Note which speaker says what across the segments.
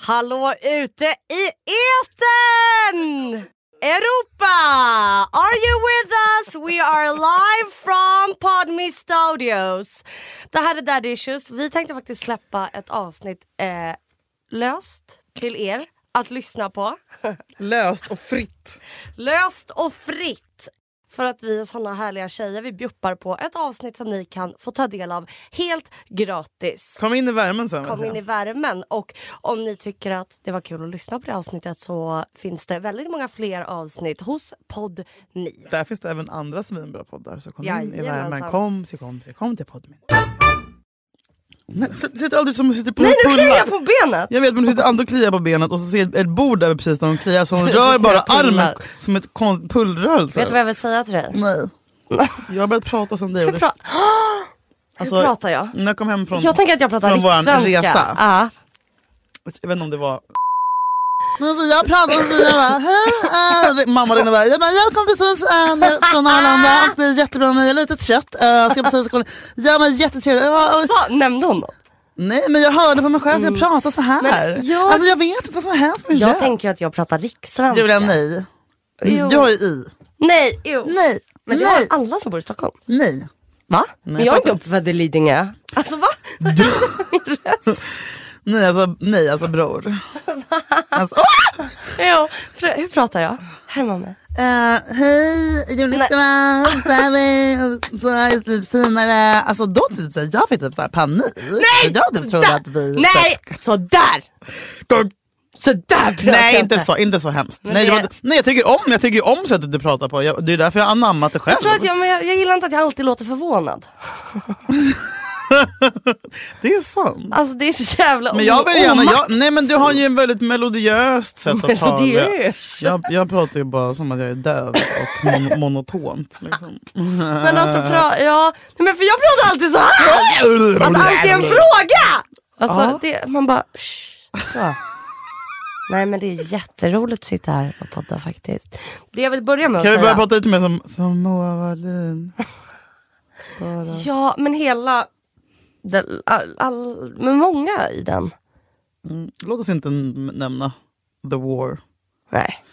Speaker 1: Hallå ute i etern! Europa! Are you with us? We are live from Podme Studios. Det här är Daddy Issues. Vi tänkte faktiskt släppa ett avsnitt eh, löst till er att lyssna på.
Speaker 2: Löst och fritt.
Speaker 1: löst och fritt. För att vi är såna härliga tjejer. Vi bjuppar på ett avsnitt som ni kan få ta del av helt gratis.
Speaker 2: Kom in i värmen sen.
Speaker 1: kom in i värmen. Och om ni tycker att det var kul att lyssna på det avsnittet så finns det väldigt många fler avsnitt hos Podmi.
Speaker 2: Där finns det även andra svinbra poddar. Så kom in i
Speaker 1: Jajamensan.
Speaker 2: värmen. Kom, så kom, så kom till podmin. Nej, så- Sitt aldrig som och sitter på
Speaker 1: Nej nu
Speaker 2: pullar.
Speaker 1: kliar jag på benet!
Speaker 2: Jag vet men du sitter andra och kliar på benet och så ser jag ett bord där precis där hon kliar så hon
Speaker 1: Så- så
Speaker 2: rör
Speaker 1: ser
Speaker 2: bara
Speaker 1: jag pullar.
Speaker 2: armen som ett kon- pullrörelse.
Speaker 1: Vet du vad jag vill säga till dig?
Speaker 2: Nej. Jag har börjat prata som dig. och
Speaker 1: Hur,
Speaker 2: det-
Speaker 1: pra-
Speaker 2: alltså,
Speaker 1: hur pratar jag?
Speaker 2: När jag kom hem från,
Speaker 1: Jag tänker att jag pratar
Speaker 2: från våran
Speaker 1: rikssvenska.
Speaker 2: resa.
Speaker 1: Ja.
Speaker 2: jag vet inte om det var men så jag pratade och så jag bara, hej, äh, mamma ringde och bara, jag, bara, jag kom precis äh, ner från Arlanda och det är jättebra med litet kött. Äh, ska precis kolla. Jag var jättetrevlig. Jag bara, "Oj."
Speaker 1: Så, nämnde hon något?
Speaker 2: nej men jag hörde på mig själv att jag pratar så här.
Speaker 1: Men jag-
Speaker 2: Alltså Mm. jag vet inte vad som har hänt med
Speaker 1: Jag
Speaker 2: det.
Speaker 1: tänker ju att jag pratar rikssvenska.
Speaker 2: Julia nej.
Speaker 1: Jo.
Speaker 2: Du har ju i.
Speaker 1: Nej, jo.
Speaker 2: Nej.
Speaker 1: Men det
Speaker 2: nej.
Speaker 1: har alla som bor i Stockholm.
Speaker 2: Nej.
Speaker 1: Va? men jag är inte uppfödd i Lidingö. Alltså va? Min röst.
Speaker 2: Nej alltså, nej, alltså bror. Alltså,
Speaker 1: Jo, fr- hur pratar jag? Härma mig.
Speaker 2: Eh, hej, Joniskan, så här är det lite finare. Alltså då typ såhär, jag fick typ såhär panik. Nej! Jag typ trodde
Speaker 1: Där.
Speaker 2: att vi...
Speaker 1: Nej! Sådär! Sådär pratar
Speaker 2: Nej
Speaker 1: jag
Speaker 2: inte så, inte så hemskt.
Speaker 1: Men
Speaker 2: Nej, det...
Speaker 1: det-
Speaker 2: var inte- nej jag tycker om jag tycker om sättet du pratar på. Jag, det är därför jag har anammat det själv.
Speaker 1: Jag, tror att jag, men jag, jag gillar inte att jag alltid låter förvånad.
Speaker 2: Det är sant.
Speaker 1: Alltså det är så jävla
Speaker 2: Men jag vill gärna, jag,
Speaker 1: omakt-
Speaker 2: nej men du har ju en väldigt melodiöst sätt att tala.
Speaker 1: Melodiös.
Speaker 2: Jag, jag pratar ju bara som att jag är döv och mon- monotont. Liksom.
Speaker 1: Men alltså pra, ja, nej, men för jag pratar alltid så här. Att allt är en fråga! Alltså
Speaker 2: Ja.
Speaker 1: det, man bara "Shh", så. Nej men det är jätteroligt att sitta här och podda faktiskt. Det jag vill börja med att
Speaker 2: Kan vi
Speaker 1: säga.
Speaker 2: börja prata lite mer som, som Moa Wallin?
Speaker 1: Ja men hela, den- all, all, men många i den.
Speaker 2: Låt oss inte n- nämna the war.
Speaker 1: Nej.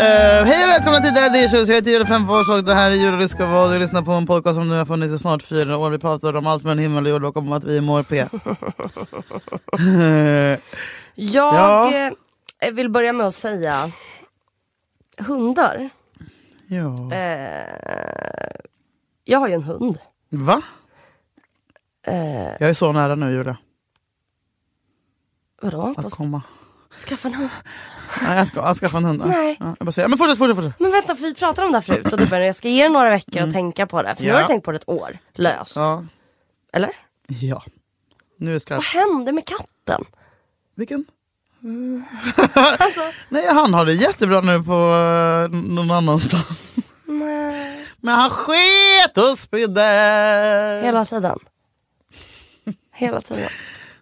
Speaker 2: Eh, hej och välkomna till Daddy Issues. Jag heter Julia Frändfors och det här är Julia Ryska vad du lyssnar på en podcast som nu har funnits i snart fyra år. Vi pratar om allt mellan himmel och jord och om att vi mår P. Eh,
Speaker 1: Jag eh, vill börja med att säga hundar. eh,
Speaker 2: ja.
Speaker 1: Jag har ju en hund.
Speaker 2: Va? Jag är så nära nu Julia,
Speaker 1: Vadå?
Speaker 2: att komma.
Speaker 1: Skaffa en hund?
Speaker 2: Nej, jag ska, jag ska få en hund.
Speaker 1: Nej.
Speaker 2: Ja, jag bara säger, men fortsätt, fortsätt, fortsätt.
Speaker 1: Men vänta, för vi pratade om det här förut och du började, jag ska ge er några veckor att tänka på det. För nu har
Speaker 2: Mm. Ja.
Speaker 1: jag tänkt på det ett år, löst.
Speaker 2: Ja.
Speaker 1: Eller?
Speaker 2: ja. Nu är det skarpt.
Speaker 1: Vad hände med katten?
Speaker 2: Vilken?
Speaker 1: Alltså,
Speaker 2: Nej, han har det jättebra nu på eh, någon annanstans.
Speaker 1: nej.
Speaker 2: Men han sket och spydde.
Speaker 1: Hela tiden. Hela tiden.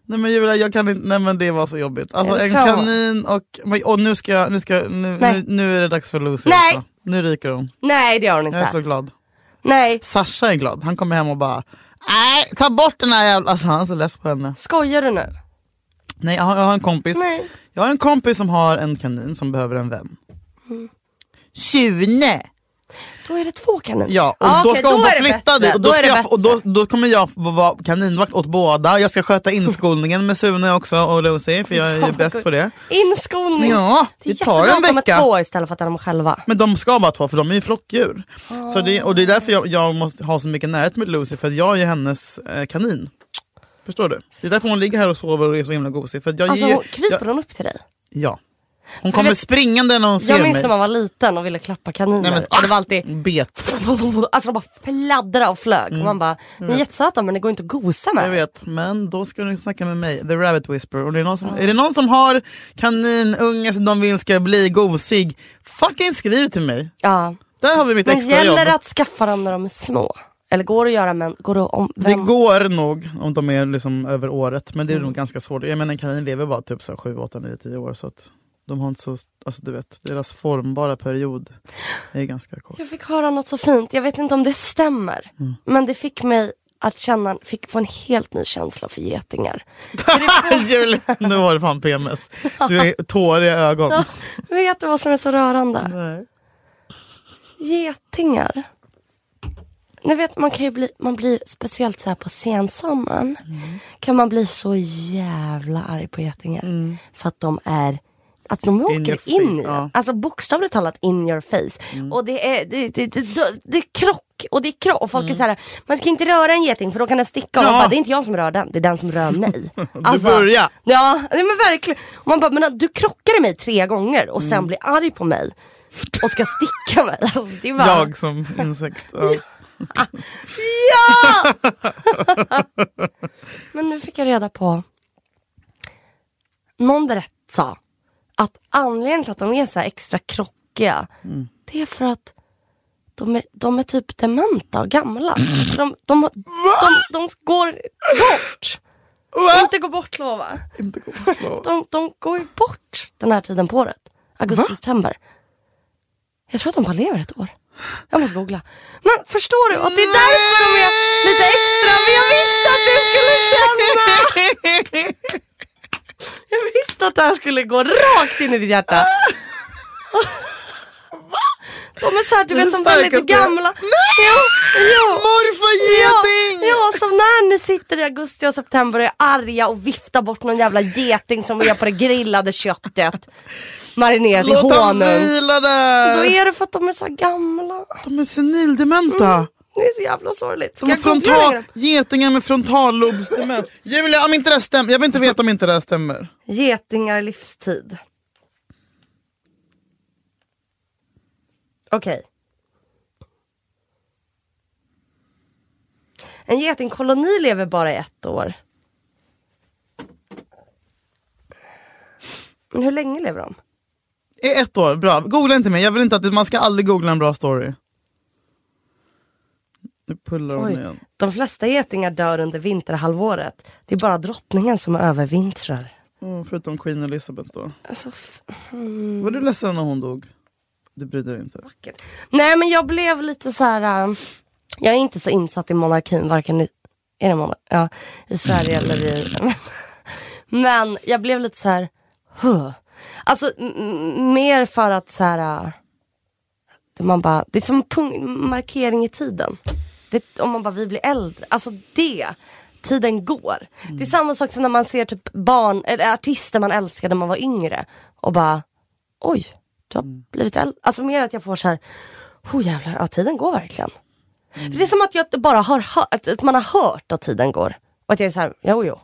Speaker 2: Nej men Julia, jag kan inte, nej men det var så jobbigt. Alltså
Speaker 1: Är det
Speaker 2: en
Speaker 1: trauma?
Speaker 2: kanin och, men- och nu ska jag, nu ska jag- nu,
Speaker 1: Nej.
Speaker 2: nu, nu är det dags för Lucy
Speaker 1: Nej.
Speaker 2: också. Nu ryker hon.
Speaker 1: Nej, det har hon
Speaker 2: Jag är
Speaker 1: inte.
Speaker 2: så glad.
Speaker 1: Nej.
Speaker 2: Sasha är glad, han kommer hem och bara Nej, ta bort den här jävla... Alltså han är så less på henne.
Speaker 1: Skojar du nu?
Speaker 2: Nej, jag har, jag har en kompis.
Speaker 1: Nej.
Speaker 2: Jag har en kompis som har en kanin som behöver en vän.
Speaker 1: Mm.
Speaker 2: Sune!
Speaker 1: Då är det två kaniner.
Speaker 2: Ja, och
Speaker 1: Ah,
Speaker 2: då
Speaker 1: okej,
Speaker 2: ska hon
Speaker 1: är
Speaker 2: få
Speaker 1: det bättre.
Speaker 2: flytta dit och, då,
Speaker 1: är
Speaker 2: ska
Speaker 1: det
Speaker 2: jag, och då,
Speaker 1: bättre.
Speaker 2: då kommer jag få vara kaninvakt åt båda. Jag ska sköta inskolningen med Sune också och Lucy för jag är ju
Speaker 1: Fan, vad
Speaker 2: bäst
Speaker 1: gulligt.
Speaker 2: på det.
Speaker 1: Inskolning.
Speaker 2: Ja,
Speaker 1: det är
Speaker 2: det tar
Speaker 1: jättebra att
Speaker 2: en
Speaker 1: de är
Speaker 2: vecka.
Speaker 1: två istället för att de är själva.
Speaker 2: Men de ska bara två för de är ju flockdjur. Så det, och det är därför jag, jag måste ha så mycket närhet med Lucy för att jag är ju hennes eh, kanin. Förstår du? Det är därför hon ligger här och sover och är så himla gosig. För att jag
Speaker 1: Alltså
Speaker 2: ger,
Speaker 1: hon, kryper
Speaker 2: jag,
Speaker 1: hon upp till dig?
Speaker 2: Ja. Hon
Speaker 1: För
Speaker 2: kommer
Speaker 1: vet-
Speaker 2: springande när hon ser
Speaker 1: Jag minns
Speaker 2: mig.
Speaker 1: när man var liten och ville klappa kaniner.
Speaker 2: Nej, men- Ah!
Speaker 1: och det var alltid
Speaker 2: Bet.
Speaker 1: Alltså de bara fladdrade och flög. Och man bara, ni är jättesöta men det går inte att gosa med.
Speaker 2: Mm. Jag vet, men då ska du snacka med mig, the rabbit whisperer. Och det är, någon som, är det någon som har kaninunge som de vill ska bli gosig, fucking skriv till mig.
Speaker 1: Ja.
Speaker 2: Där har vi mitt
Speaker 1: Men
Speaker 2: extrajobb.
Speaker 1: gäller det att skaffa dem när de är små? Eller går det att göra men går det att om,
Speaker 2: Det
Speaker 1: vem?
Speaker 2: går nog om de
Speaker 1: Mm.
Speaker 2: är liksom över året, men det är nog ganska svårt. Jag menar en kanin lever bara typ 7, 8, 9, 10 år. Så att De har inte så, alltså du vet, deras formbara period är ganska kort.
Speaker 1: Jag fick höra något så fint. Jag vet inte om det stämmer.
Speaker 2: Mm.
Speaker 1: Men det fick mig att känna, fick få en helt ny känsla för getingar.
Speaker 2: Julia, nu har du fan PMS. Du är tåriga ögon.
Speaker 1: Vet du vad som är så rörande?
Speaker 2: Nej.
Speaker 1: Getingar. Ni vet, man kan ju bli, man blir speciellt så här på sensommaren. Kan man bli så jävla arg på getingar. För att de är att de
Speaker 2: Mm. your
Speaker 1: åker
Speaker 2: face,
Speaker 1: in i
Speaker 2: ja. Mm.
Speaker 1: Alltså bokstavligt talat in your face. Och det är, det, det, det, det, det är krock. Och det är krock. Och folk är så här, man ska inte röra en geting för då kan den sticka. Och
Speaker 2: Mm. Ja.
Speaker 1: man bara, det är inte jag som rör den, det är den som rör mig. Alltså,
Speaker 2: börjar.
Speaker 1: Ja, nej men verkligen. Och man bara, men du krockade mig tre gånger och sen
Speaker 2: Mm.
Speaker 1: blir arg på mig. Och ska sticka mig. Alltså, det är bara,
Speaker 2: Jag som insekt. Ja.
Speaker 1: Ja! Men nu fick jag reda på. Någon berätt- sa att anledningen till att de är så här extra krockiga. Det är för att de är, de är typ dementa och gamla. Så De, de, har- de, de går bort. Inte går bort lova.
Speaker 2: Inte gott.
Speaker 1: De, de går ju bort den här tiden på året. Augusti, september. Jag tror att de bara lever ett år. Jag måste googla. Men förstår du att det är därför de är lite extra. Men jag visste att du skulle känna. Jag visste att det här skulle gå rakt in i ditt hjärta. De är så här, du
Speaker 2: Det är
Speaker 1: vet som
Speaker 2: det
Speaker 1: väldigt
Speaker 2: starkaste.
Speaker 1: gamla. Jo, jo.
Speaker 2: Morfargeting!
Speaker 1: Ja, som när ni sitter i augusti och september och är arga och viftar bort någon jävla geting som är på det grillade köttet. Marinerat i
Speaker 2: Låt han
Speaker 1: honung.
Speaker 2: vila
Speaker 1: Då
Speaker 2: där.
Speaker 1: är det för att de är så här gamla.
Speaker 2: De är senildementa.
Speaker 1: Det är så jävla sorgligt. Ska
Speaker 2: De har
Speaker 1: Mm. jag googla längre?
Speaker 2: frontal, getingar med frontallobsdemens. Julia, om inte det här stämmer. Jag vill inte veta om inte det här stämmer.
Speaker 1: Getingar i livstid. Okej. En getingkoloni lever bara i ett år. Men hur länge lever de?
Speaker 2: I ett år, bra. Googla inte mig. Jag vill inte att man ska aldrig googla en bra story. Nu pullar hon
Speaker 1: Oj.
Speaker 2: igen.
Speaker 1: De flesta getingar dör under vinterhalvåret. Det är bara drottningen som övervintrar.
Speaker 2: Mm, förutom Queen Elizabeth då.
Speaker 1: Alltså, f- Mm.
Speaker 2: Var du ledsen när hon dog? Du brydde dig inte?
Speaker 1: Vacker. Nej men jag blev lite så här. äh, jag är inte så insatt i monarkin, varken i, är det monar- ja, i Sverige eller i... Men jag blev lite så här. huh. Alltså m- m- mer för att så här. äh, det man bara, det är som en punk- markering i tiden. Det, om man bara, vi blir äldre. Alltså det. Tiden går. Det är samma sak som när man ser typ barn, eller artister man älskade när man var yngre. Och bara, oj, du har blivit äldre. Alltså mer att jag får så här, oh jävlar, ja, tiden går verkligen. Det är som att jag bara har hört, att- att man har hört att tiden går. Och att jag är så här, jo jo.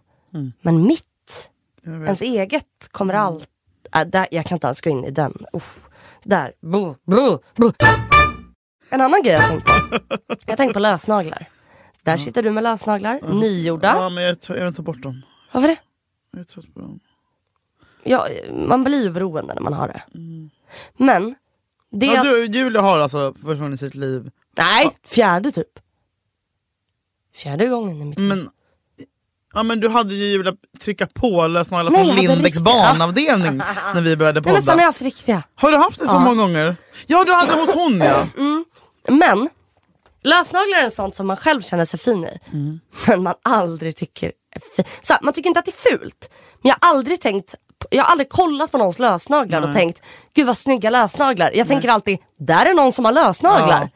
Speaker 1: Men mitt,
Speaker 2: Jag vet.
Speaker 1: ens eget kommer
Speaker 2: Mm.
Speaker 1: allt, äh, där, jag kan inte ens gå in i den. Uff. Där, bo, bo, bo. En annan grej jag tänkte på. Jag tänkte på lösnaglar. Där sitter du med lösnaglar, nygjorda.
Speaker 2: Mm. Ja, men jag, tror- jag vill ta bort dem.
Speaker 1: Varför det?
Speaker 2: Jag är trött på dem.
Speaker 1: Ja, man blir ju beroende när man har det. Men, det...
Speaker 2: Mm. Ja, du, Julia har alltså försvunnit sitt liv.
Speaker 1: Nej, fjärde typ. Fjärde gången i mitt
Speaker 2: Men, ja, men du hade ju Julia trycka på lösnaglar
Speaker 1: Nej, jag
Speaker 2: från
Speaker 1: hade
Speaker 2: Lindex
Speaker 1: riktigt-
Speaker 2: barnavdelning när vi började
Speaker 1: Nej men sen har jag
Speaker 2: podda.
Speaker 1: haft riktiga.
Speaker 2: Har du haft det så
Speaker 1: Ja. Mm.
Speaker 2: många gånger? Ja, du hade hos hon ja.
Speaker 1: Men, lösnaglar är sånt som man själv känner sig fin i.
Speaker 2: Mm.
Speaker 1: Men man aldrig tycker är fi- Så här, man tycker inte att det är fult. Men jag har aldrig tänkt, jag har aldrig kollat på någons lösnaglar och tänkt, gud vad snygga lösnaglar. Jag tänker alltid, där är någon som har lösnaglar.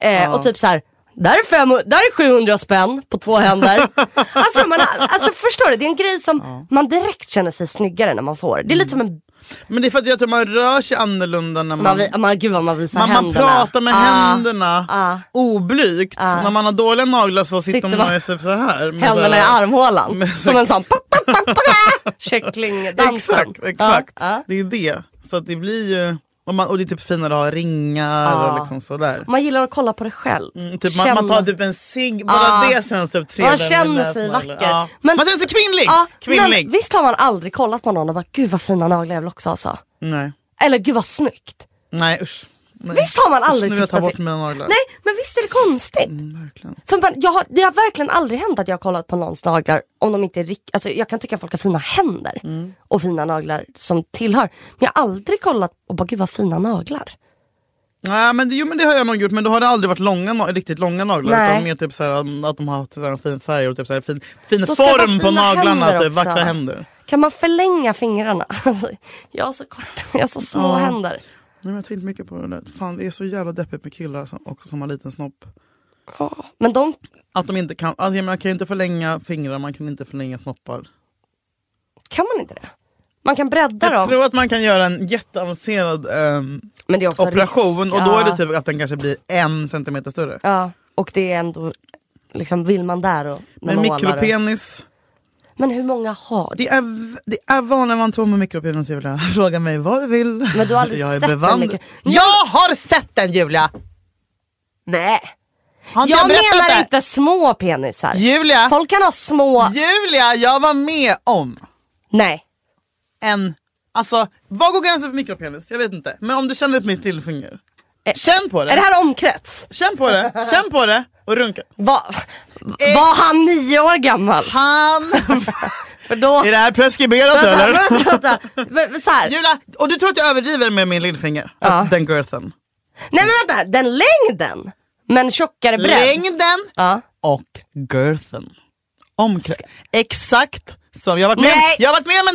Speaker 1: Eh, Och typ så här. Där är, fem, där är 700 spänn på två händer. Alltså, man, har- alltså förstår du, det är en grej som man direkt känner sig snyggare när man får. Det är lite som en
Speaker 2: Men det är för att jag tror man rör sig annorlunda när man,
Speaker 1: Man, vi, man, gud vad man visar
Speaker 2: man, man
Speaker 1: händerna.
Speaker 2: pratar med
Speaker 1: Ah,
Speaker 2: händerna
Speaker 1: ah.
Speaker 2: oblygt. När man har dåliga naglar så sitter,
Speaker 1: Sitter
Speaker 2: man
Speaker 1: man-
Speaker 2: ju typ så här. med så
Speaker 1: Händerna i
Speaker 2: här-
Speaker 1: armhålan.
Speaker 2: Men-
Speaker 1: Som en sån pop, pop, pop, pop, kycklingdansen.
Speaker 2: Exakt, exakt.
Speaker 1: Ja, ja.
Speaker 2: Det är det. Så att det blir ju... Och, man, och det är typ finare att ha ringar
Speaker 1: Ja.
Speaker 2: och liksom sådär.
Speaker 1: Man gillar att kolla på det själv.
Speaker 2: Mm, Typ man, man tar typ en cigg, bara
Speaker 1: Ja.
Speaker 2: det känns typ trevligt.
Speaker 1: Man känner
Speaker 2: med
Speaker 1: sig
Speaker 2: lösnaglar.
Speaker 1: vacker.
Speaker 2: Ja.
Speaker 1: Men-
Speaker 2: man känner sig kvinnlig!
Speaker 1: Ja,
Speaker 2: kvinnlig.
Speaker 1: Men, visst har man aldrig kollat på någon och bara, gud vad fina naglar jag vill också ha så.
Speaker 2: Nej.
Speaker 1: Eller gud vad snyggt.
Speaker 2: Nej usch. Nej.
Speaker 1: Visst har man aldrig
Speaker 2: Usch, Nu vill jag
Speaker 1: tyckt
Speaker 2: ta
Speaker 1: att
Speaker 2: bort
Speaker 1: det...
Speaker 2: mina naglar.
Speaker 1: Nej men visst är det konstigt?
Speaker 2: Mm, verkligen.
Speaker 1: För man, jag har, det har verkligen aldrig hänt att jag har kollat på någons naglar om de inte är rikt, alltså Jag kan tycka att folk har fina händer
Speaker 2: Mm.
Speaker 1: och fina naglar som tillhör. Men jag har aldrig kollat och bara gud vad fina naglar.
Speaker 2: Nej, men, jo men det har jag nog gjort men då har det aldrig varit långa, na- riktigt långa naglar.
Speaker 1: Nej.
Speaker 2: Utan mer typ såhär, att de har haft såhär, en fin färg och typ såhär, fin, fin
Speaker 1: Då ska det vara
Speaker 2: form på
Speaker 1: fina
Speaker 2: naglarna.
Speaker 1: händer
Speaker 2: Typ,
Speaker 1: också.
Speaker 2: vackra händer.
Speaker 1: Kan man förlänga fingrarna? Alltså, jag har så kort, jag har så små
Speaker 2: Ja.
Speaker 1: händer.
Speaker 2: Nej, men jag har tänkt mycket på det där. Fan det är så jävla deppigt med killar som, också som har liten snopp.
Speaker 1: Ja. Men de,
Speaker 2: Att de inte kan, alltså, jag menar, man kan ju inte förlänga fingrar, man kan inte förlänga snoppar.
Speaker 1: kan man inte det? Man kan bredda
Speaker 2: Jag
Speaker 1: dem.
Speaker 2: tror att man kan göra en jätteavancerad ehm,
Speaker 1: Men det är också
Speaker 2: operation
Speaker 1: Alltså, risk.
Speaker 2: och då är
Speaker 1: Ja.
Speaker 2: det typ att den kanske blir en centimeter större.
Speaker 1: Ja, och det är ändå, liksom vill man där och när
Speaker 2: Men
Speaker 1: man ålar och-
Speaker 2: mikropenis,
Speaker 1: Men hur många har det?
Speaker 2: det är, v- det är vanligare än man tror med mikropenis Julia. Fråga mig vad du vill.
Speaker 1: Men du har aldrig
Speaker 2: jag är
Speaker 1: sett en
Speaker 2: bevand-
Speaker 1: mikro-
Speaker 2: Jag har sett den Julia!
Speaker 1: Nej.
Speaker 2: Har inte
Speaker 1: Jag
Speaker 2: berättat
Speaker 1: menar
Speaker 2: det?
Speaker 1: inte små penisar.
Speaker 2: Julia,
Speaker 1: Folk kan ha små...
Speaker 2: Julia, jag var med om
Speaker 1: Nej.
Speaker 2: en, alltså vad går gränsen för mikropenis? Jag vet inte. Men om du känner på mitt lillfinger.
Speaker 1: Eh,
Speaker 2: Känn på det.
Speaker 1: Är det här omkrets?
Speaker 2: Känn på det, känn på det och runka.
Speaker 1: Va, var han nio år gammal?
Speaker 2: Eh. Han!
Speaker 1: För då...
Speaker 2: är det här preskriberat
Speaker 1: vänta,
Speaker 2: eller?
Speaker 1: vänta, vänta. V- Så här.
Speaker 2: Julia, och du tror att jag överdriver med min lillfinger?
Speaker 1: Ja.
Speaker 2: Att den girthen?
Speaker 1: Nej men vänta, den längden. Men tjockare bredd.
Speaker 2: Längden
Speaker 1: Ja.
Speaker 2: och girthen. Omkrets. Exakt som jag har varit med
Speaker 1: Nej.
Speaker 2: om. Jag har varit med om en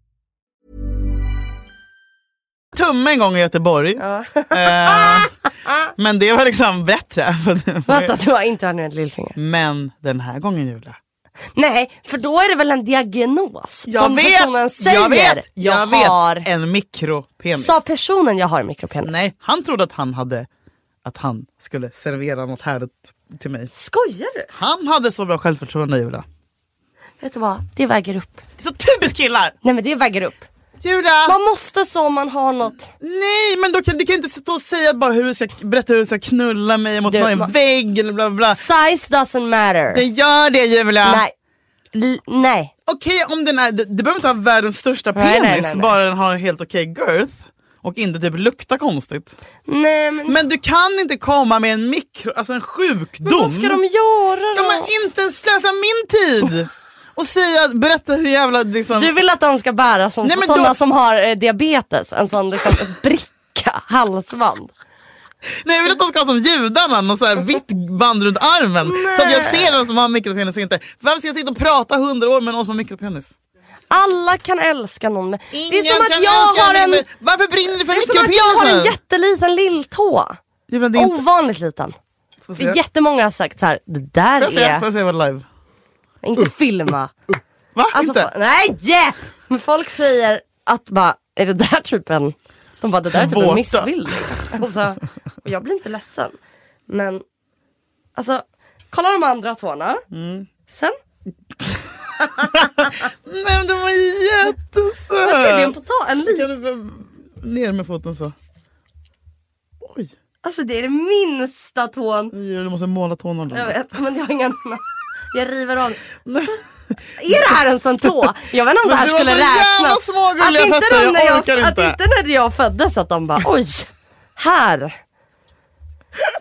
Speaker 2: tumme en gång i Göteborg. Eh, men det var liksom bättre.
Speaker 1: Vänta, du har inte använt lillfinger.
Speaker 2: men den här gången Julia.
Speaker 1: Nej, för då är det väl en diagnos som personen säger.
Speaker 2: jag vet, jag,
Speaker 1: jag
Speaker 2: vet.
Speaker 1: har.
Speaker 2: En mikropenis.
Speaker 1: Sa personen jag har mikropenis?
Speaker 2: Nej, han trodde att han hade att han skulle servera något härligt till mig.
Speaker 1: Skojar du?
Speaker 2: Han hade så bra självförtroende Julia.
Speaker 1: Vet du vad, det väger upp.
Speaker 2: Det är så typiskt killar!
Speaker 1: Nej men det väger upp.
Speaker 2: Julia!
Speaker 1: Man måste så om man har något.
Speaker 2: Nej men då kan, du kan inte sitta och säga bara hur du ska, berätta hur du ska knulla mig mot
Speaker 1: Du,
Speaker 2: någon
Speaker 1: ma-
Speaker 2: vägg eller bla bla bla.
Speaker 1: Size doesn't matter.
Speaker 2: Det gör det Julia!
Speaker 1: Nej. L- nej.
Speaker 2: Okej om den är, det, det behöver inte ha världens största
Speaker 1: Nej,
Speaker 2: penis,
Speaker 1: nej, nej, nej.
Speaker 2: bara den har en helt okej girth. Och inte typ lukta konstigt.
Speaker 1: Nej men,
Speaker 2: Men du kan inte komma med en mikro, alltså en sjukdom.
Speaker 1: vad ska de göra
Speaker 2: Ja,
Speaker 1: då?
Speaker 2: men inte slösa min tid! Och säga, berätta hur jävla liksom...
Speaker 1: Du vill att de ska bära som
Speaker 2: Nej, men
Speaker 1: sådana
Speaker 2: då-
Speaker 1: som har eh, diabetes, en sån liksom bricka, halsband.
Speaker 2: Nej jag vill att de ska ha som judarna, något så här vitt band runt armen. Så att jag ser vem som har mikropenis och inte. Vem ska jag sitta och prata hundra år med någon som har mikropenis?
Speaker 1: Alla kan älska någon. men- det är
Speaker 2: Ingen
Speaker 1: som att
Speaker 2: kan
Speaker 1: jag
Speaker 2: älska
Speaker 1: har en,
Speaker 2: mikro- Varför brinner du för
Speaker 1: det är som att jag har en Oh,
Speaker 2: mikropenisar?
Speaker 1: jätteliten lilltå.
Speaker 2: Ja, men det är inte-
Speaker 1: Ovanligt liten.
Speaker 2: Får
Speaker 1: Det
Speaker 2: se.
Speaker 1: är
Speaker 2: Får
Speaker 1: jättemånga har sagt så här. det
Speaker 2: jag
Speaker 1: där
Speaker 2: se? Får
Speaker 1: är,
Speaker 2: jag se vad live?
Speaker 1: inte filma.
Speaker 2: Va?
Speaker 1: Alltså,
Speaker 2: inte?
Speaker 1: fa- nej! Yeah! Men folk säger att bara, är det där typ en... De bara, det där är typ en
Speaker 2: Våta.
Speaker 1: missbildning. Alltså, och jag blir inte ledsen. Men, alltså, kolla de andra tårna.
Speaker 2: Mm.
Speaker 1: Sen,
Speaker 2: Nej men den var jättesöt!
Speaker 1: vad ser du? En potatis? En liten?
Speaker 2: Kan du bara- Ner med foten så. Oj,
Speaker 1: Alltså det är den minsta tån.
Speaker 2: du måste måla tånålen.
Speaker 1: Jag vet, men jag har inga... Jag river av. Är det här ens en tå? Jag vet inte om det
Speaker 2: Men
Speaker 1: här
Speaker 2: du har
Speaker 1: skulle
Speaker 2: så jävla
Speaker 1: räknas.
Speaker 2: små gulliga fötter,
Speaker 1: de
Speaker 2: jag
Speaker 1: när
Speaker 2: orkar
Speaker 1: att
Speaker 2: inte.
Speaker 1: inte när jag föddes att de bara oj, här.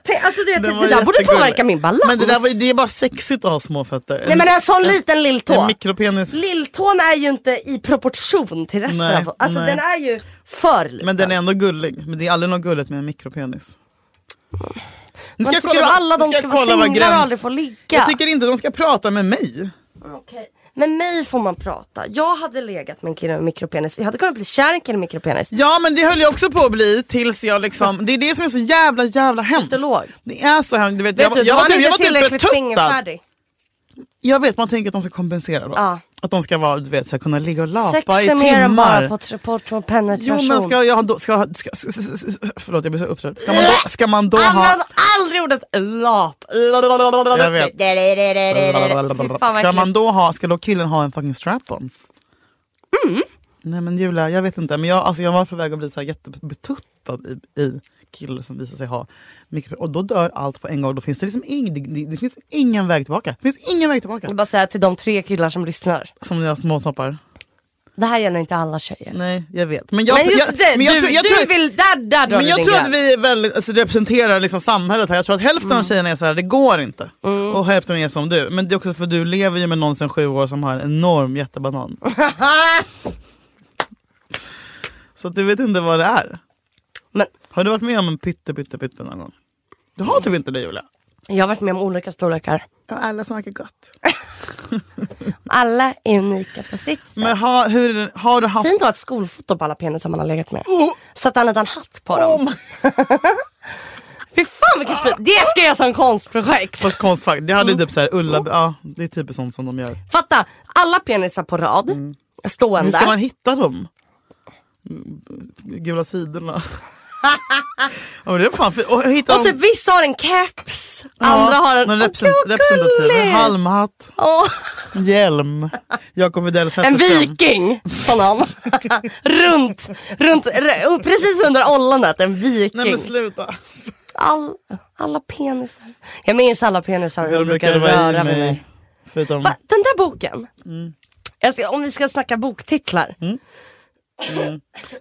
Speaker 1: Tänk, Alltså du vet,
Speaker 2: Den
Speaker 1: det
Speaker 2: var
Speaker 1: där borde
Speaker 2: jättegullig.
Speaker 1: påverka min balans.
Speaker 2: Men det, där var, det är bara sexigt att ha små fötter.
Speaker 1: Nej men en sån liten
Speaker 2: en
Speaker 1: lilltå.
Speaker 2: mikropenis.
Speaker 1: Lilltån är ju inte i proportion till resten
Speaker 2: Nej,
Speaker 1: av Alltså
Speaker 2: nej.
Speaker 1: den är ju för liten.
Speaker 2: Men den är ändå gullig. Men det är aldrig något gulligt med en mikropenis. Nu
Speaker 1: Man
Speaker 2: jag
Speaker 1: tycker du
Speaker 2: vad-
Speaker 1: alla de
Speaker 2: nu
Speaker 1: ska,
Speaker 2: jag
Speaker 1: vara
Speaker 2: kolla vad
Speaker 1: singlar och
Speaker 2: gräns-
Speaker 1: aldrig få ligga?
Speaker 2: Jag tycker inte de ska prata med mig.
Speaker 1: Okej. Med mig får man prata. Jag hade legat med en kille med mikropenis. Jag hade kunnat bli kär i en kille med mikropenis.
Speaker 2: Ja men det höll jag också på att bli tills jag liksom, det är det som är så jävla jävla hemskt.
Speaker 1: Fysiolog.
Speaker 2: Det är så hemskt. Du vet,
Speaker 1: Vet
Speaker 2: jag,
Speaker 1: du,
Speaker 2: jag,
Speaker 1: då
Speaker 2: var
Speaker 1: var han
Speaker 2: typ- jag var
Speaker 1: inte
Speaker 2: typ
Speaker 1: tillräckligt
Speaker 2: betuttad.
Speaker 1: fingerfärdig.
Speaker 2: Jag vet, man tänker att de ska kompensera då.
Speaker 1: Ja.
Speaker 2: Att de ska vara, du vet, så här, kunna ligga och lapa i
Speaker 1: Sexa mer än bara
Speaker 2: timmar.
Speaker 1: på, tr- på, på
Speaker 2: Jo
Speaker 1: penetration.
Speaker 2: men ska jag då, ska, ska, s- s- s- förlåt jag blir så upprörd. Ska man då, ska man då ha...
Speaker 1: Använd aldrig ordet lap.
Speaker 2: Jag vet.
Speaker 1: Fy fan vad
Speaker 2: Ska
Speaker 1: äckligt.
Speaker 2: man då ha, ska då killen ha en fucking strap-on?
Speaker 1: Mm.
Speaker 2: Nej men Julia, jag vet inte. Men jag, alltså, jag var på väg att bli så här jättebetuttad i, i killar som visar sig ha mycket Och då dör allt på en gång. Då finns det liksom ing, det, det, det finns ingen väg tillbaka. Det finns ingen väg tillbaka.
Speaker 1: Jag vill bara säga till de tre killar som lyssnar.
Speaker 2: Som jag småtoppar.
Speaker 1: Det här gäller inte alla tjejer.
Speaker 2: Nej, jag vet. Men, jag,
Speaker 1: men just
Speaker 2: jag,
Speaker 1: det,
Speaker 2: men jag
Speaker 1: du,
Speaker 2: tror- jag
Speaker 1: du
Speaker 2: tror-
Speaker 1: vill, där, där drar
Speaker 2: Men
Speaker 1: du
Speaker 2: jag
Speaker 1: din
Speaker 2: tror att
Speaker 1: gräns. Mm.
Speaker 2: vi är väldigt, alltså, representerar liksom samhället här. Jag tror att hälften av tjejerna är så här, det går inte. Och hälften är som du. Men det är också för att du lever ju med någon sedan sju år som har en enorm jättebanan. så att du vet inte vad det är.
Speaker 1: Men
Speaker 2: Har du varit med om en pytte pytte pytte någon gång? Du har typ inte det Julia?
Speaker 1: jag har varit med om olika storlekar.
Speaker 2: Ja, alla smakar gott.
Speaker 1: Alla är unika på sitt sätt.
Speaker 2: Men har, hur, har du haft...
Speaker 1: Fint att ha ett skolfoto på alla penisar man har legat med.
Speaker 2: Oh,
Speaker 1: Så att han hade en hatt på
Speaker 2: oh
Speaker 1: dem.
Speaker 2: my- Ah.
Speaker 1: Fy fan vilket fint. Det ska jag som konstprojekt.
Speaker 2: Fast konstfack, det hade ju typ såhär Ulla... Ja, det är typ sånt som de gör.
Speaker 1: Fatta, alla penisar på rad.
Speaker 2: Hur Mm. ska man
Speaker 1: Stående.
Speaker 2: hitta dem? Gula sidorna. ja, men det är fan fint. Och hitta
Speaker 1: Och typ vissa har en keps. Andra har en...
Speaker 2: någon
Speaker 1: Åh,
Speaker 2: represent-
Speaker 1: gud, vad
Speaker 2: representativ. En
Speaker 1: gulligt.
Speaker 2: halmhatt,
Speaker 1: Åh,
Speaker 2: hjälm. Jakob Widell
Speaker 1: En
Speaker 2: Zetterström.
Speaker 1: viking. Sån han. runt, runt, r- precis under ollonet. En viking.
Speaker 2: Nej men sluta.
Speaker 1: All, alla penisar. Jag minns alla penisar och hur de brukade
Speaker 2: vara i
Speaker 1: röra vid mig.
Speaker 2: Förutom...
Speaker 1: Va, den där boken. Jag ska, om vi ska snacka boktitlar.
Speaker 2: En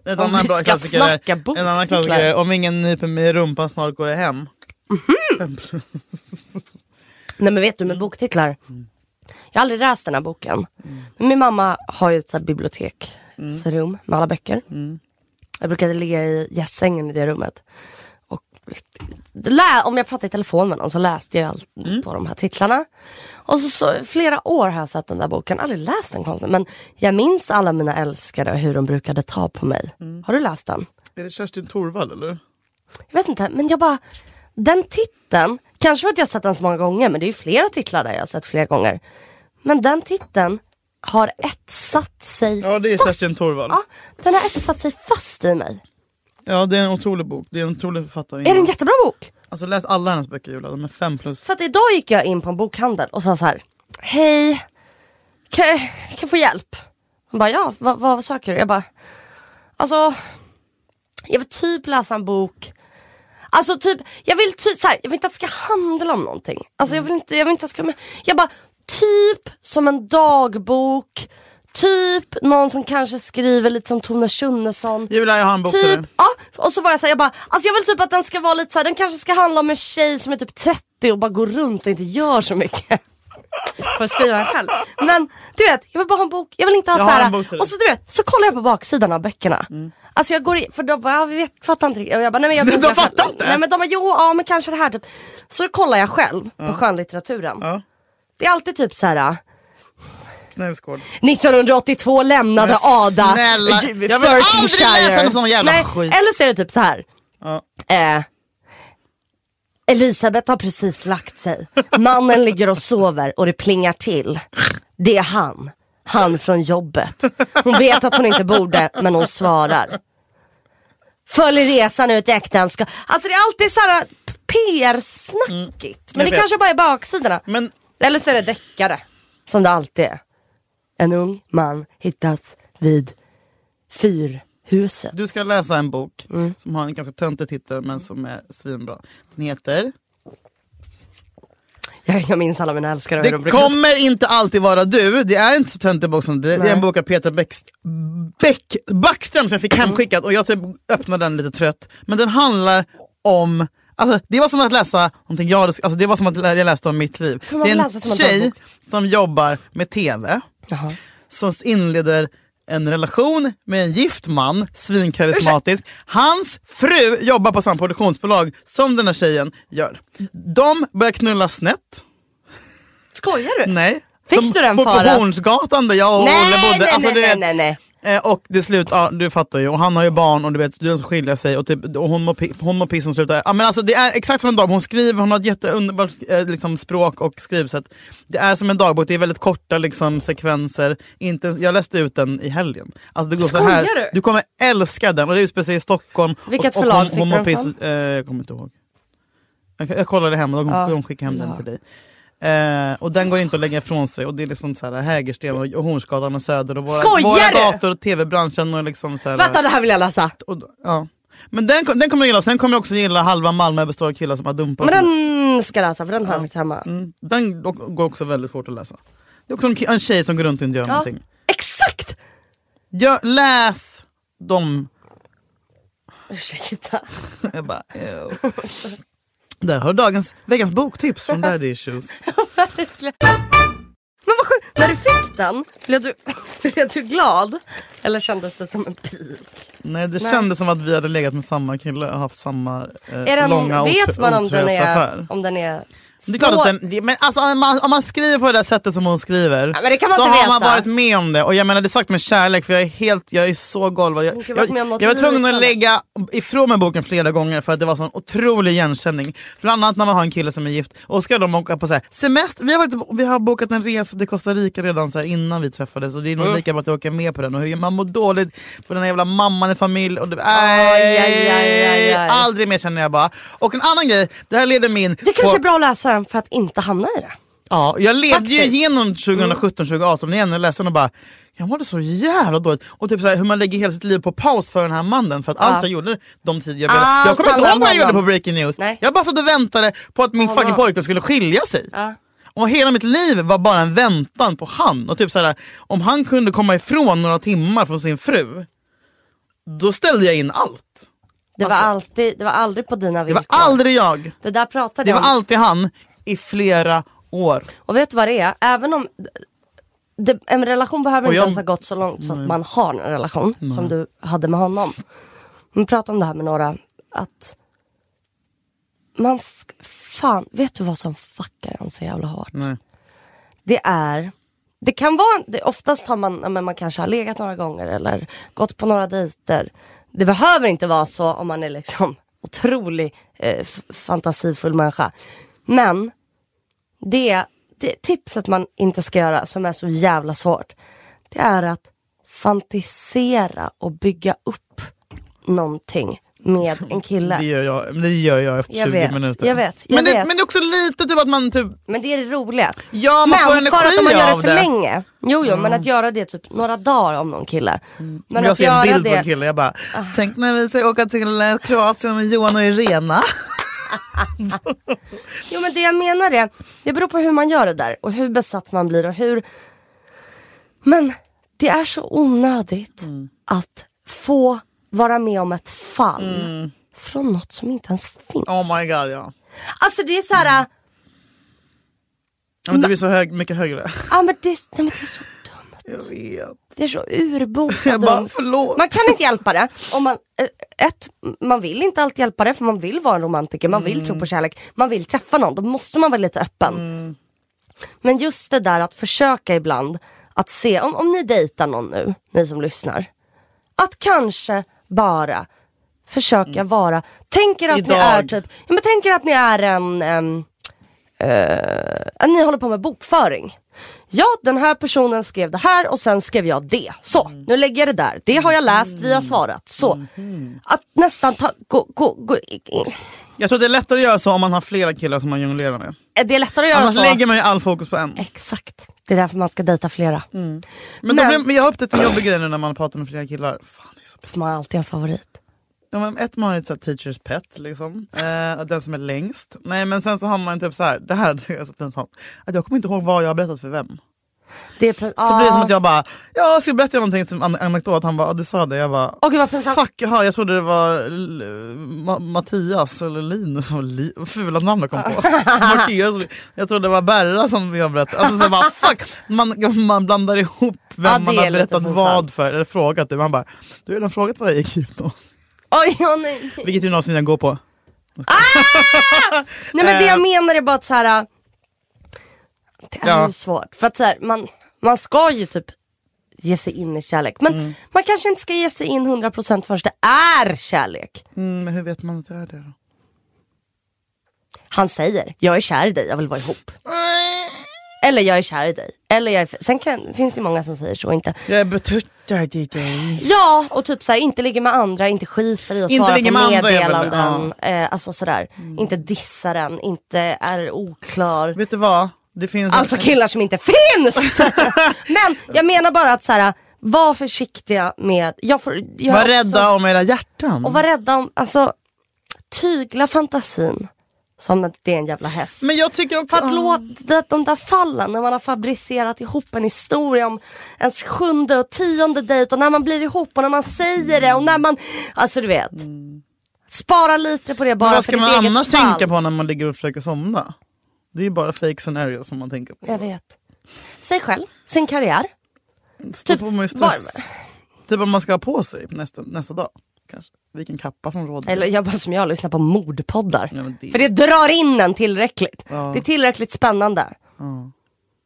Speaker 1: Om
Speaker 2: annan
Speaker 1: vi
Speaker 2: bra
Speaker 1: ska
Speaker 2: klassiker,
Speaker 1: snacka
Speaker 2: är- en annan klassiker är
Speaker 1: boktitlar.
Speaker 2: om ingen nyper mig i rumpan snart går jag hem.
Speaker 1: Nej men vet du med boktitlar. Jag har aldrig läst den här boken. Men min mamma har ju ett så här biblioteksrum med alla böcker. Jag brukade ligga i gästsängen i det rummet. Och lä- om jag pratade i telefon med någon så läste jag allt på de här titlarna. Och så, så flera år har jag sett den där boken, aldrig läst den konstigt. Men jag minns alla mina älskare och hur de brukade ta på mig. Har du läst den?
Speaker 2: Är det Kerstin Thorvall eller?
Speaker 1: Jag vet inte, men jag bara... Den titeln, kanske för att jag har sett den så många gånger, men det är ju flera titlar där jag har sett flera gånger. Men den titeln har etsat sig
Speaker 2: Ja det är
Speaker 1: fast.
Speaker 2: Kerstin Thorvall.
Speaker 1: Ja, den har etsat sig fast i mig.
Speaker 2: Ja det är en otrolig bok. Det är en otrolig författare.
Speaker 1: Är det en jättebra bok?
Speaker 2: Alltså läs alla hennes böcker Julia, de är fem plus.
Speaker 1: För att idag gick jag in på en bokhandel och sa så här. Hej, kan jag, kan jag få hjälp? Hon bara, ja, vad, vad söker du? Jag bara, alltså, jag vill typ läsa en bok. Alltså typ, jag vill typ så här, jag vill inte att det ska handla om någonting. Alltså jag vill inte, jag vill inte att det ska, jag bara, typ som en dagbok. Typ någon som kanske skriver lite som Tone Schunnesson.
Speaker 2: Julia jag har en bok till dig.
Speaker 1: Typ, ja. Och så var jag såhär, jag bara, alltså jag vill typ att den ska vara lite såhär, den kanske ska handla om en tjej som är typ 30 och bara går runt och inte gör så mycket. Får jag skriva den själv. Men du vet, jag vill bara ha en bok, jag vill inte ha
Speaker 2: Jag har en
Speaker 1: såhär.
Speaker 2: bok till dig. Mm.
Speaker 1: Och så du vet, så kollar jag på baksidan av böckerna. Alltså jag går i, för de bara, ja, vi vet, fattar inte riktigt. Och jag bara, nej men jag
Speaker 2: De
Speaker 1: googlar
Speaker 2: fattar
Speaker 1: själv.
Speaker 2: inte?
Speaker 1: Nej men de bara, jo, ja men kanske det här typ. Så kollar jag själv
Speaker 2: Mm.
Speaker 1: på skönlitteraturen.
Speaker 2: Ja.
Speaker 1: Det är alltid typ såhär,
Speaker 2: Snävsgård.
Speaker 1: 1982 lämnade
Speaker 2: Men
Speaker 1: Ada
Speaker 2: snälla, jag vill
Speaker 1: Fertingshire.
Speaker 2: aldrig läsa någon sån jävla
Speaker 1: Nej,
Speaker 2: skit.
Speaker 1: Eller så är det typ så här.
Speaker 2: Ja.
Speaker 1: Eh, Elisabeth har precis lagt sig. Mannen ligger och sover och det plingar till. Det är han. Han från jobbet. Hon vet att hon inte borde men hon svarar. Följer resan ut i äktenskap. Alltså det är alltid så här PR-snackigt. men
Speaker 2: jag
Speaker 1: det
Speaker 2: vet.
Speaker 1: kanske bara är baksidorna.
Speaker 2: Men
Speaker 1: Eller så är det deckare. Som det alltid är. En ung man hittas vid fyrhuset.
Speaker 2: Du ska läsa en bok
Speaker 1: Mm.
Speaker 2: som har en ganska töntig titel men som är svinbra. Den heter
Speaker 1: Jag, jag minns alla mina älskare och hur de
Speaker 2: Det
Speaker 1: brukar
Speaker 2: kommer inte alltid vara du. Det är inte så töntig bok som det. Det är en bok av Peter Bex- Beck, Backström som jag fick hemskickad och jag typ öppnade den lite trött. Men den handlar om Alltså, det var som att läsa någonting jag hade- alltså, det var som att lä- jag läste om mitt liv.
Speaker 1: man
Speaker 2: Det är en
Speaker 1: läsa som en
Speaker 2: tjej
Speaker 1: dagbok?
Speaker 2: som jobbar med TV
Speaker 1: Jaha.
Speaker 2: som inleder en relation med en gift man, svinkarismatisk. Hans fru jobbar på samma produktionsbolag som den här tjejen gör. De börjar knulla snett.
Speaker 1: Skojar du?
Speaker 2: Nej.
Speaker 1: Fick
Speaker 2: de
Speaker 1: du den
Speaker 2: bor på
Speaker 1: faran?
Speaker 2: Hornsgatan där jag och
Speaker 1: Nej,
Speaker 2: Olle bodde.
Speaker 1: nej,
Speaker 2: Alltså,
Speaker 1: nej,
Speaker 2: du
Speaker 1: nej,
Speaker 2: vet,
Speaker 1: nej, nej.
Speaker 2: Eh, och det slutar, ja, du fattar ju, och han har ju barn och du vet, de skiljer sig och, typ, och hon mår pi- hon mår piss och slutar. Ja, men alltså, det är exakt som en dagbok, hon skriver, hon har ett jätteunderbart eh, liksom, språk och skrivsätt. Det är som en dagbok, det är väldigt korta liksom, sekvenser. Inte, ens- jag läste ut den i helgen. Alltså, det går så här.
Speaker 1: Skojar du?
Speaker 2: du kommer älska den, och det är ju speciellt i Stockholm.
Speaker 1: Vilket
Speaker 2: och, och
Speaker 1: förlag
Speaker 2: hon,
Speaker 1: fick
Speaker 2: hon
Speaker 1: du
Speaker 2: mår
Speaker 1: den
Speaker 2: piss,
Speaker 1: från?
Speaker 2: eh, Jag kommer inte ihåg. Jag, jag kollade hemma, de,
Speaker 1: Ja.
Speaker 2: de skickade hem den
Speaker 1: Ja.
Speaker 2: till dig. Eh, och den går inte att lägga ifrån sig och det är liksom så här, Hägersten och och Hornsgatan och Söder och våra,
Speaker 1: Skojar
Speaker 2: våra
Speaker 1: du?
Speaker 2: gator och tv-branschen och liksom så här,
Speaker 1: Vänta, det här vill jag läsa.
Speaker 2: och, ja. Men den, kom- den kommer jag gilla, sen kommer jag också gilla Halva Malmö består av killar som har dumpat
Speaker 1: Men den ska jag läsa för den har jag faktiskt hemma.
Speaker 2: Mm. Den o- går också väldigt svårt att läsa. Det är också en, ki- en tjej som går runt och inte gör någonting.
Speaker 1: Exakt!
Speaker 2: Jag, läs dem!
Speaker 1: Ursäkta.
Speaker 2: Jag bara, ew. Där har du dagens, veckans boktips från Daddy Issues.
Speaker 1: Men vad sjukt, när du fick den, blev du, blev du glad? Eller kändes det som en pil?
Speaker 2: Nej det kändes som att vi hade legat med samma kille och haft samma eh,
Speaker 1: Är den,
Speaker 2: långa
Speaker 1: vet
Speaker 2: otro-
Speaker 1: man om den är...
Speaker 2: otrohetsaffär.
Speaker 1: Om den är
Speaker 2: Det är klart att
Speaker 1: står-
Speaker 2: den, det- men alltså, om, man, om man skriver på det där sättet som hon skriver
Speaker 1: men det kan man
Speaker 2: så
Speaker 1: inte
Speaker 2: har
Speaker 1: veta.
Speaker 2: man varit med om det. Och jag menar det är sagt med kärlek för jag är helt, jag är så golvad. Jag,
Speaker 1: Hon kan ha varit
Speaker 2: jag,
Speaker 1: med om något
Speaker 2: jag var tvungen att
Speaker 1: liknande.
Speaker 2: lägga ifrån mig boken flera gånger för att det var sån otrolig igenkänning. Bland annat när man har en kille som är gift och ska de åka på så här, semester. Vi har, faktiskt, vi har bokat en resa till Costa Rica redan så här, innan vi träffades och det är nog lika bra att jag åker med på den. Och hur man mår dåligt på den här jävla mamman i familj. Och det,
Speaker 1: aj, aj, aj, aj.
Speaker 2: Aldrig mer känner jag bara. Och en annan grej, det här leder mig in
Speaker 1: Det
Speaker 2: på-
Speaker 1: kanske är bra att läsa den för att inte hamna i det.
Speaker 2: Ja, jag levde ju
Speaker 1: Faktiskt. Mm.
Speaker 2: igenom 2017-2018 igen och läste den och bara jag mådde så jävla dåligt. Och typ så här, hur man lägger hela sitt liv på paus för den här mannen för att allt jag gjorde de tider jag ville.
Speaker 1: Allt
Speaker 2: jag kommer inte
Speaker 1: handlar
Speaker 2: ihåg
Speaker 1: om
Speaker 2: vad jag gjorde
Speaker 1: Ah, honom.
Speaker 2: på Breaking News.
Speaker 1: Nej.
Speaker 2: Jag bara satt och väntade på att min
Speaker 1: Honom.
Speaker 2: fucking pojkvän skulle skilja sig.
Speaker 1: Ja.
Speaker 2: Och hela mitt liv var bara en väntan på han. Och typ så här, om han kunde komma ifrån några timmar från sin fru, då ställde jag in allt.
Speaker 1: Det,
Speaker 2: Alltså-
Speaker 1: var alltid, det var aldrig på dina
Speaker 2: Det
Speaker 1: villkor.
Speaker 2: var aldrig jag.
Speaker 1: Det där pratade
Speaker 2: Det
Speaker 1: jag
Speaker 2: var
Speaker 1: om.
Speaker 2: alltid han i flera år.
Speaker 1: Och vet du vad det är? Även om det, en relation behöver
Speaker 2: Och
Speaker 1: inte
Speaker 2: jag-
Speaker 1: ens ha gått så långt så att man har en relation som du hade med honom. Men prata om det här med några, att man sk- fan, vet du vad som fuckar en så jävla hårt?
Speaker 2: Nej.
Speaker 1: Det är, det kan vara, det, oftast har man, ja, men man kanske har legat några gånger eller gått på några dejter. Det behöver inte vara så om man är liksom otrolig eh, f- fantasifull människa. Men det, det tipset man inte ska göra som är så jävla svårt. Det är att fantisera och bygga upp någonting med en
Speaker 2: Det
Speaker 1: kille.
Speaker 2: gör jag, men det gör jag efter
Speaker 1: Jag
Speaker 2: 20
Speaker 1: vet,
Speaker 2: minuter.
Speaker 1: jag vet, jag
Speaker 2: men, det,
Speaker 1: vet.
Speaker 2: men det är också lite typ att man typ...
Speaker 1: Men det är det roliga.
Speaker 2: Ja, man
Speaker 1: Men
Speaker 2: får energi
Speaker 1: för att om man gör
Speaker 2: av
Speaker 1: det för länge. Jo, jo, men att göra det typ några dagar om någon kille. Men
Speaker 2: jag
Speaker 1: att
Speaker 2: ser en
Speaker 1: göra
Speaker 2: bild på
Speaker 1: det,
Speaker 2: en kille, jag bara, tänk när vi ska åka till eh, Kroatien med Johan och Irena.
Speaker 1: Jo men det jag menar är, det beror på hur man gör det där och hur besatt man blir och hur... Men det är så onödigt
Speaker 2: Mm.
Speaker 1: att få vara med om ett fall från något som inte ens finns.
Speaker 2: Oh my god Mm. ja. Mm.
Speaker 1: Alltså det är så här,
Speaker 2: ja men du blir så hög, mycket högre.
Speaker 1: ah, men det, är- nej, men det är så dumt.
Speaker 2: Jag vet.
Speaker 1: Det är så urbota
Speaker 2: Jag bara,
Speaker 1: dumt.
Speaker 2: förlåt.
Speaker 1: Man kan inte hjälpa det. Om man, eh, ett, man vill inte alltid hjälpa det för man vill vara en romantiker, man vill tro på kärlek, man vill träffa någon. Då måste man vara lite öppen. Men just det där att försöka ibland att se, om, om ni dejtar någon nu, ni som lyssnar. Att kanske bara försöka vara, tänk er att
Speaker 2: Mm. Idag.
Speaker 1: ni är typ, ja, men tänk er att ni är en ehm, att ni håller på med bokföring. Ja, den här personen skrev det här och sen skrev jag det. Så,
Speaker 2: Mm.
Speaker 1: nu lägger jag det där. Det har jag läst, vi har svarat. Så,
Speaker 2: Mm-hmm.
Speaker 1: att nästan ta, gå, gå, gå, i- i-
Speaker 2: Jag tror det är lättare att göra så om man har flera killar som man jonglerar med.
Speaker 1: det är lättare att göra
Speaker 2: Annars
Speaker 1: så. Eh,
Speaker 2: lägger man ju all fokus på en.
Speaker 1: Exakt, det är därför man ska dejta flera.
Speaker 2: Men, då
Speaker 1: Men-
Speaker 2: blir, men jag har upptäckt en jobbig grej nu när man pratar med flera killar. Fan, det är så pinsamt.
Speaker 1: Man har alltid en favorit.
Speaker 2: Ja, men ett man har ett så här teachers pet, liksom. eh, och den som är längst. Nej men sen så har man typ så här, det här är så pinsamt, att jag kommer inte ihåg vad jag har berättat för vem.
Speaker 1: Det är pin-
Speaker 2: Så blir det som att jag bara, ja ska jag berätta någonting som an- anekdot? Han bara, "Ja, du sa det. Jag bara,
Speaker 1: Ah. Åh, gud, vad pinsamt.
Speaker 2: fuck jaha, jag trodde det var L- Ma- Mattias eller Linus, Vad li- vad fula namn jag kom på. Markeus, jag trodde det var Berra som jag berättade. Alltså, så bara, fuck. Man, man blandar ihop vem
Speaker 1: Ja, det
Speaker 2: man
Speaker 1: är
Speaker 2: har
Speaker 1: lite
Speaker 2: berättat
Speaker 1: pinsamt.
Speaker 2: vad för, eller frågat. typ. Man bara, du har redan frågat vad jag gick i gymnasiet.
Speaker 1: Oj, åh, nej.
Speaker 2: Vilket gymnasium jag går på.
Speaker 1: nej men det jag
Speaker 2: Eh.
Speaker 1: menar är bara att så här. äh, Det är
Speaker 2: Ja.
Speaker 1: ju svårt. För att så här, man, man ska ju typ ge sig in i kärlek. Men
Speaker 2: Mm.
Speaker 1: man kanske inte ska ge sig in 100% förrän det är kärlek.
Speaker 2: Mm, men hur vet man att det är det då?
Speaker 1: Han säger, jag är kär i dig, jag vill vara ihop. Eller jag är kär i dig. Eller jag är f- Sen kan, finns det ju många som säger så inte.
Speaker 2: Jag är betuttad i dig.
Speaker 1: Ja, och typ såhär, inte ligga med andra, inte skita i och
Speaker 2: Inte
Speaker 1: svara på
Speaker 2: ligga med andra Mm. är väl-
Speaker 1: meddelanden. Eh, alltså sådär, inte dissa den, inte är oklar.
Speaker 2: Vet du vad? Det finns
Speaker 1: Alltså killar som inte finns! Men jag menar bara att såhär, var försiktiga med, jag får, jag har
Speaker 2: Var
Speaker 1: också-
Speaker 2: rädda om era hjärtan.
Speaker 1: Och var rädda om, alltså tygla fantasin som att det är en jävla häst.
Speaker 2: Men jag tycker också...
Speaker 1: För att låt de, de där fallen när man har fabricerat ihop en historia om ens sjunde och tionde dejt och när man blir ihop och när man säger det och när man, alltså du vet. Spara lite på det bara
Speaker 2: Mm. Men
Speaker 1: för
Speaker 2: vad ska
Speaker 1: ditt
Speaker 2: man
Speaker 1: eget
Speaker 2: annars
Speaker 1: fall.
Speaker 2: tänka på när man ligger och försöker somna? Det är ju bara fake scenarios som man tänker på.
Speaker 1: Jag vet. Sig själv, sin karriär.
Speaker 2: Då
Speaker 1: typ
Speaker 2: får man ju stress. Typ om man ska ha på sig nästa, nästa dag. Kanske. Vilken kappa från rådet.
Speaker 1: Eller jag bara som jag, lyssnar på mordpoddar.
Speaker 2: Ja, men det-
Speaker 1: För det drar in en tillräckligt.
Speaker 2: Mm. Ja.
Speaker 1: Det är tillräckligt spännande.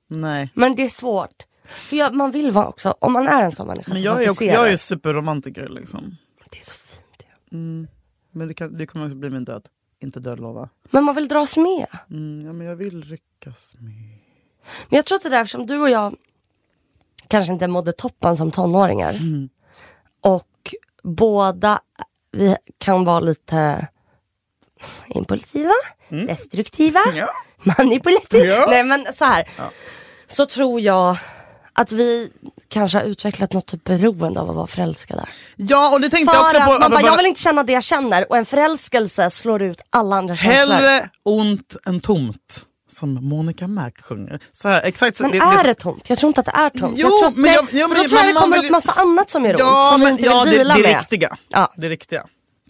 Speaker 2: Nej.
Speaker 1: Men det är svårt. För jag, man vill vara också, om Alltså, man är en sån människa
Speaker 2: Men
Speaker 1: som
Speaker 2: jag är, också,
Speaker 1: fantiserar.
Speaker 2: jag är ju superromantiker liksom.
Speaker 1: Det är så fint. ju.
Speaker 2: Men det, kan, det kommer också bli min död. Inte död lova.
Speaker 1: Men man vill dras med.
Speaker 2: Mm, ja, men jag vill ryckas med.
Speaker 1: Men jag tror att det där som du och jag kanske inte mådde toppen som tonåringar. Och båda vi kan vara lite impulsiva, destruktiva,
Speaker 2: Mm. Ja.
Speaker 1: manipulativa.
Speaker 2: Ja.
Speaker 1: Nej men så här. Så tror jag att vi kanske har utvecklat något typ beroende av att vara förälskade.
Speaker 2: Ja och det tänkte
Speaker 1: För
Speaker 2: jag också
Speaker 1: att
Speaker 2: på.
Speaker 1: man bara,
Speaker 2: apropå-
Speaker 1: jag vill inte känna det jag känner och en förälskelse slår ut alla andra känslor.
Speaker 2: Hellre ont än tomt. Som Monica Mac sjunger. Så här, exakt, så-
Speaker 1: Men är det tomt? Jag tror inte att det är tomt.
Speaker 2: Jo,
Speaker 1: jag tror att
Speaker 2: men
Speaker 1: det,
Speaker 2: jag- jo,
Speaker 1: för
Speaker 2: men
Speaker 1: då
Speaker 2: det-
Speaker 1: tror jag
Speaker 2: men
Speaker 1: det
Speaker 2: man
Speaker 1: kommer
Speaker 2: vill
Speaker 1: upp
Speaker 2: ju-
Speaker 1: massa annat som gör ont
Speaker 2: Ja,
Speaker 1: som vi
Speaker 2: men,
Speaker 1: inte vill
Speaker 2: ja det,
Speaker 1: deala
Speaker 2: det
Speaker 1: med.
Speaker 2: riktiga.
Speaker 1: Ja.
Speaker 2: Det riktiga.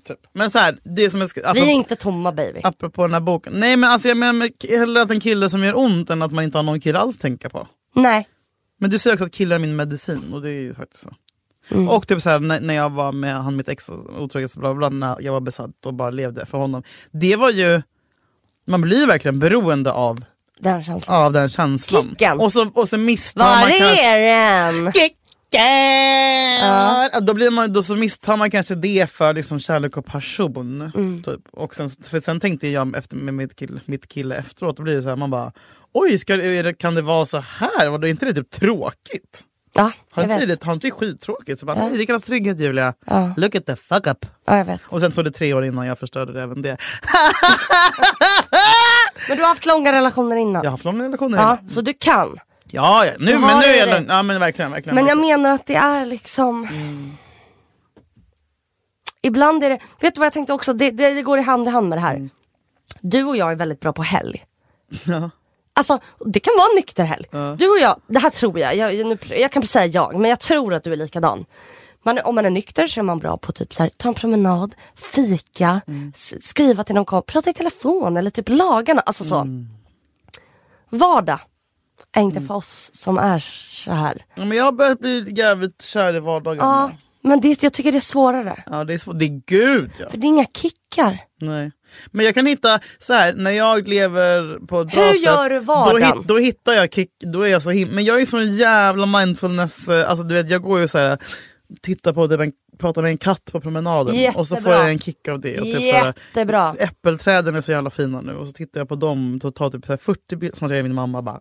Speaker 2: Typ. Men så här, det som jag ska,
Speaker 1: Vi
Speaker 2: apropå,
Speaker 1: är inte tomma baby.
Speaker 2: apropå den här boken. Nej men alltså jag menar hellre att en kille som gör ont än att man inte har någon kille alls att tänka på.
Speaker 1: Nej.
Speaker 2: Men du säger också att killar är min medicin och det är ju faktiskt så.
Speaker 1: Mm.
Speaker 2: Och typ så här, när, när jag var med han mitt ex, otrohet, bla bla, bla, när jag var besatt och bara levde för honom. Det var ju, man blir ju verkligen beroende av,
Speaker 1: Den känslan.
Speaker 2: av den känslan.
Speaker 1: Kicken.
Speaker 2: Och så, och så misstar
Speaker 1: Var
Speaker 2: man kanske...
Speaker 1: är den?
Speaker 2: Kicken! Ja. Då, blir man, då så misstar man kanske det för liksom kärlek och passion.
Speaker 1: Mm.
Speaker 2: Typ. Och sen, för sen tänkte jag efter, med mitt kille, mitt kille efteråt, då blir det så här, man bara oj, ska, det- är det- kan det vara så här? Var det inte det typ tråkigt?
Speaker 1: Ja,
Speaker 2: Har
Speaker 1: jag
Speaker 2: inte vi
Speaker 1: vet.
Speaker 2: det, har inte vi skittråkigt? Så bara, nej, det kallas trygghet Julia. Look at the fuck up.
Speaker 1: Ja, jag vet.
Speaker 2: Och sen tog det tre år innan jag förstörde det, även det.
Speaker 1: Men du har haft långa relationer innan.
Speaker 2: Jag har haft långa relationer.
Speaker 1: Ja,
Speaker 2: Ja,
Speaker 1: så du kan.
Speaker 2: ja, ja. nu,
Speaker 1: Du
Speaker 2: men
Speaker 1: har
Speaker 2: nu
Speaker 1: ju
Speaker 2: är jag
Speaker 1: det.
Speaker 2: lugn. Ja, men verkligen, verkligen.
Speaker 1: Men jag
Speaker 2: verkligen.
Speaker 1: menar att det är liksom... Ibland är det... Vet du vad jag tänkte också? Det, det, det går i hand i hand med det här. Du och jag är väldigt bra på helg. Alltså, det kan vara en nykter helg. Du och jag, det här tror jag, jag, jag, nu, jag kan säga jag, men jag tror att du är likadan. Man, är- om man är nykter så är man bra på typ så här, ta en promenad, fika, s- skriva till någon kompis, prata i telefon eller typ lagarna. Alltså så. Vardag är inte för oss som är så här.
Speaker 2: Ja, men jag har börjat bli jävligt kär i vardagen.
Speaker 1: Ja, men det, jag tycker det är svårare.
Speaker 2: Ja, det är svårt. Det är gud ja.
Speaker 1: För det är inga kickar.
Speaker 2: Nej. Men jag kan hitta, så här, när jag lever på ett bra
Speaker 1: Hur
Speaker 2: sätt.
Speaker 1: gör du vardagen?
Speaker 2: Då, hit, då hittar jag kick, då är jag så him- Men jag är sån jävla mindfulness, eh, alltså du vet jag går ju så här tittar på typ en, pratar med en katt på promenaden och så
Speaker 1: Jättebra.
Speaker 2: får jag en kick av det. Och typ så här,
Speaker 1: Jättebra.
Speaker 2: äppelträden är så jävla fina nu och så tittar jag på dem och tar typ så här 40 bilder, som att jag är min mamma bara.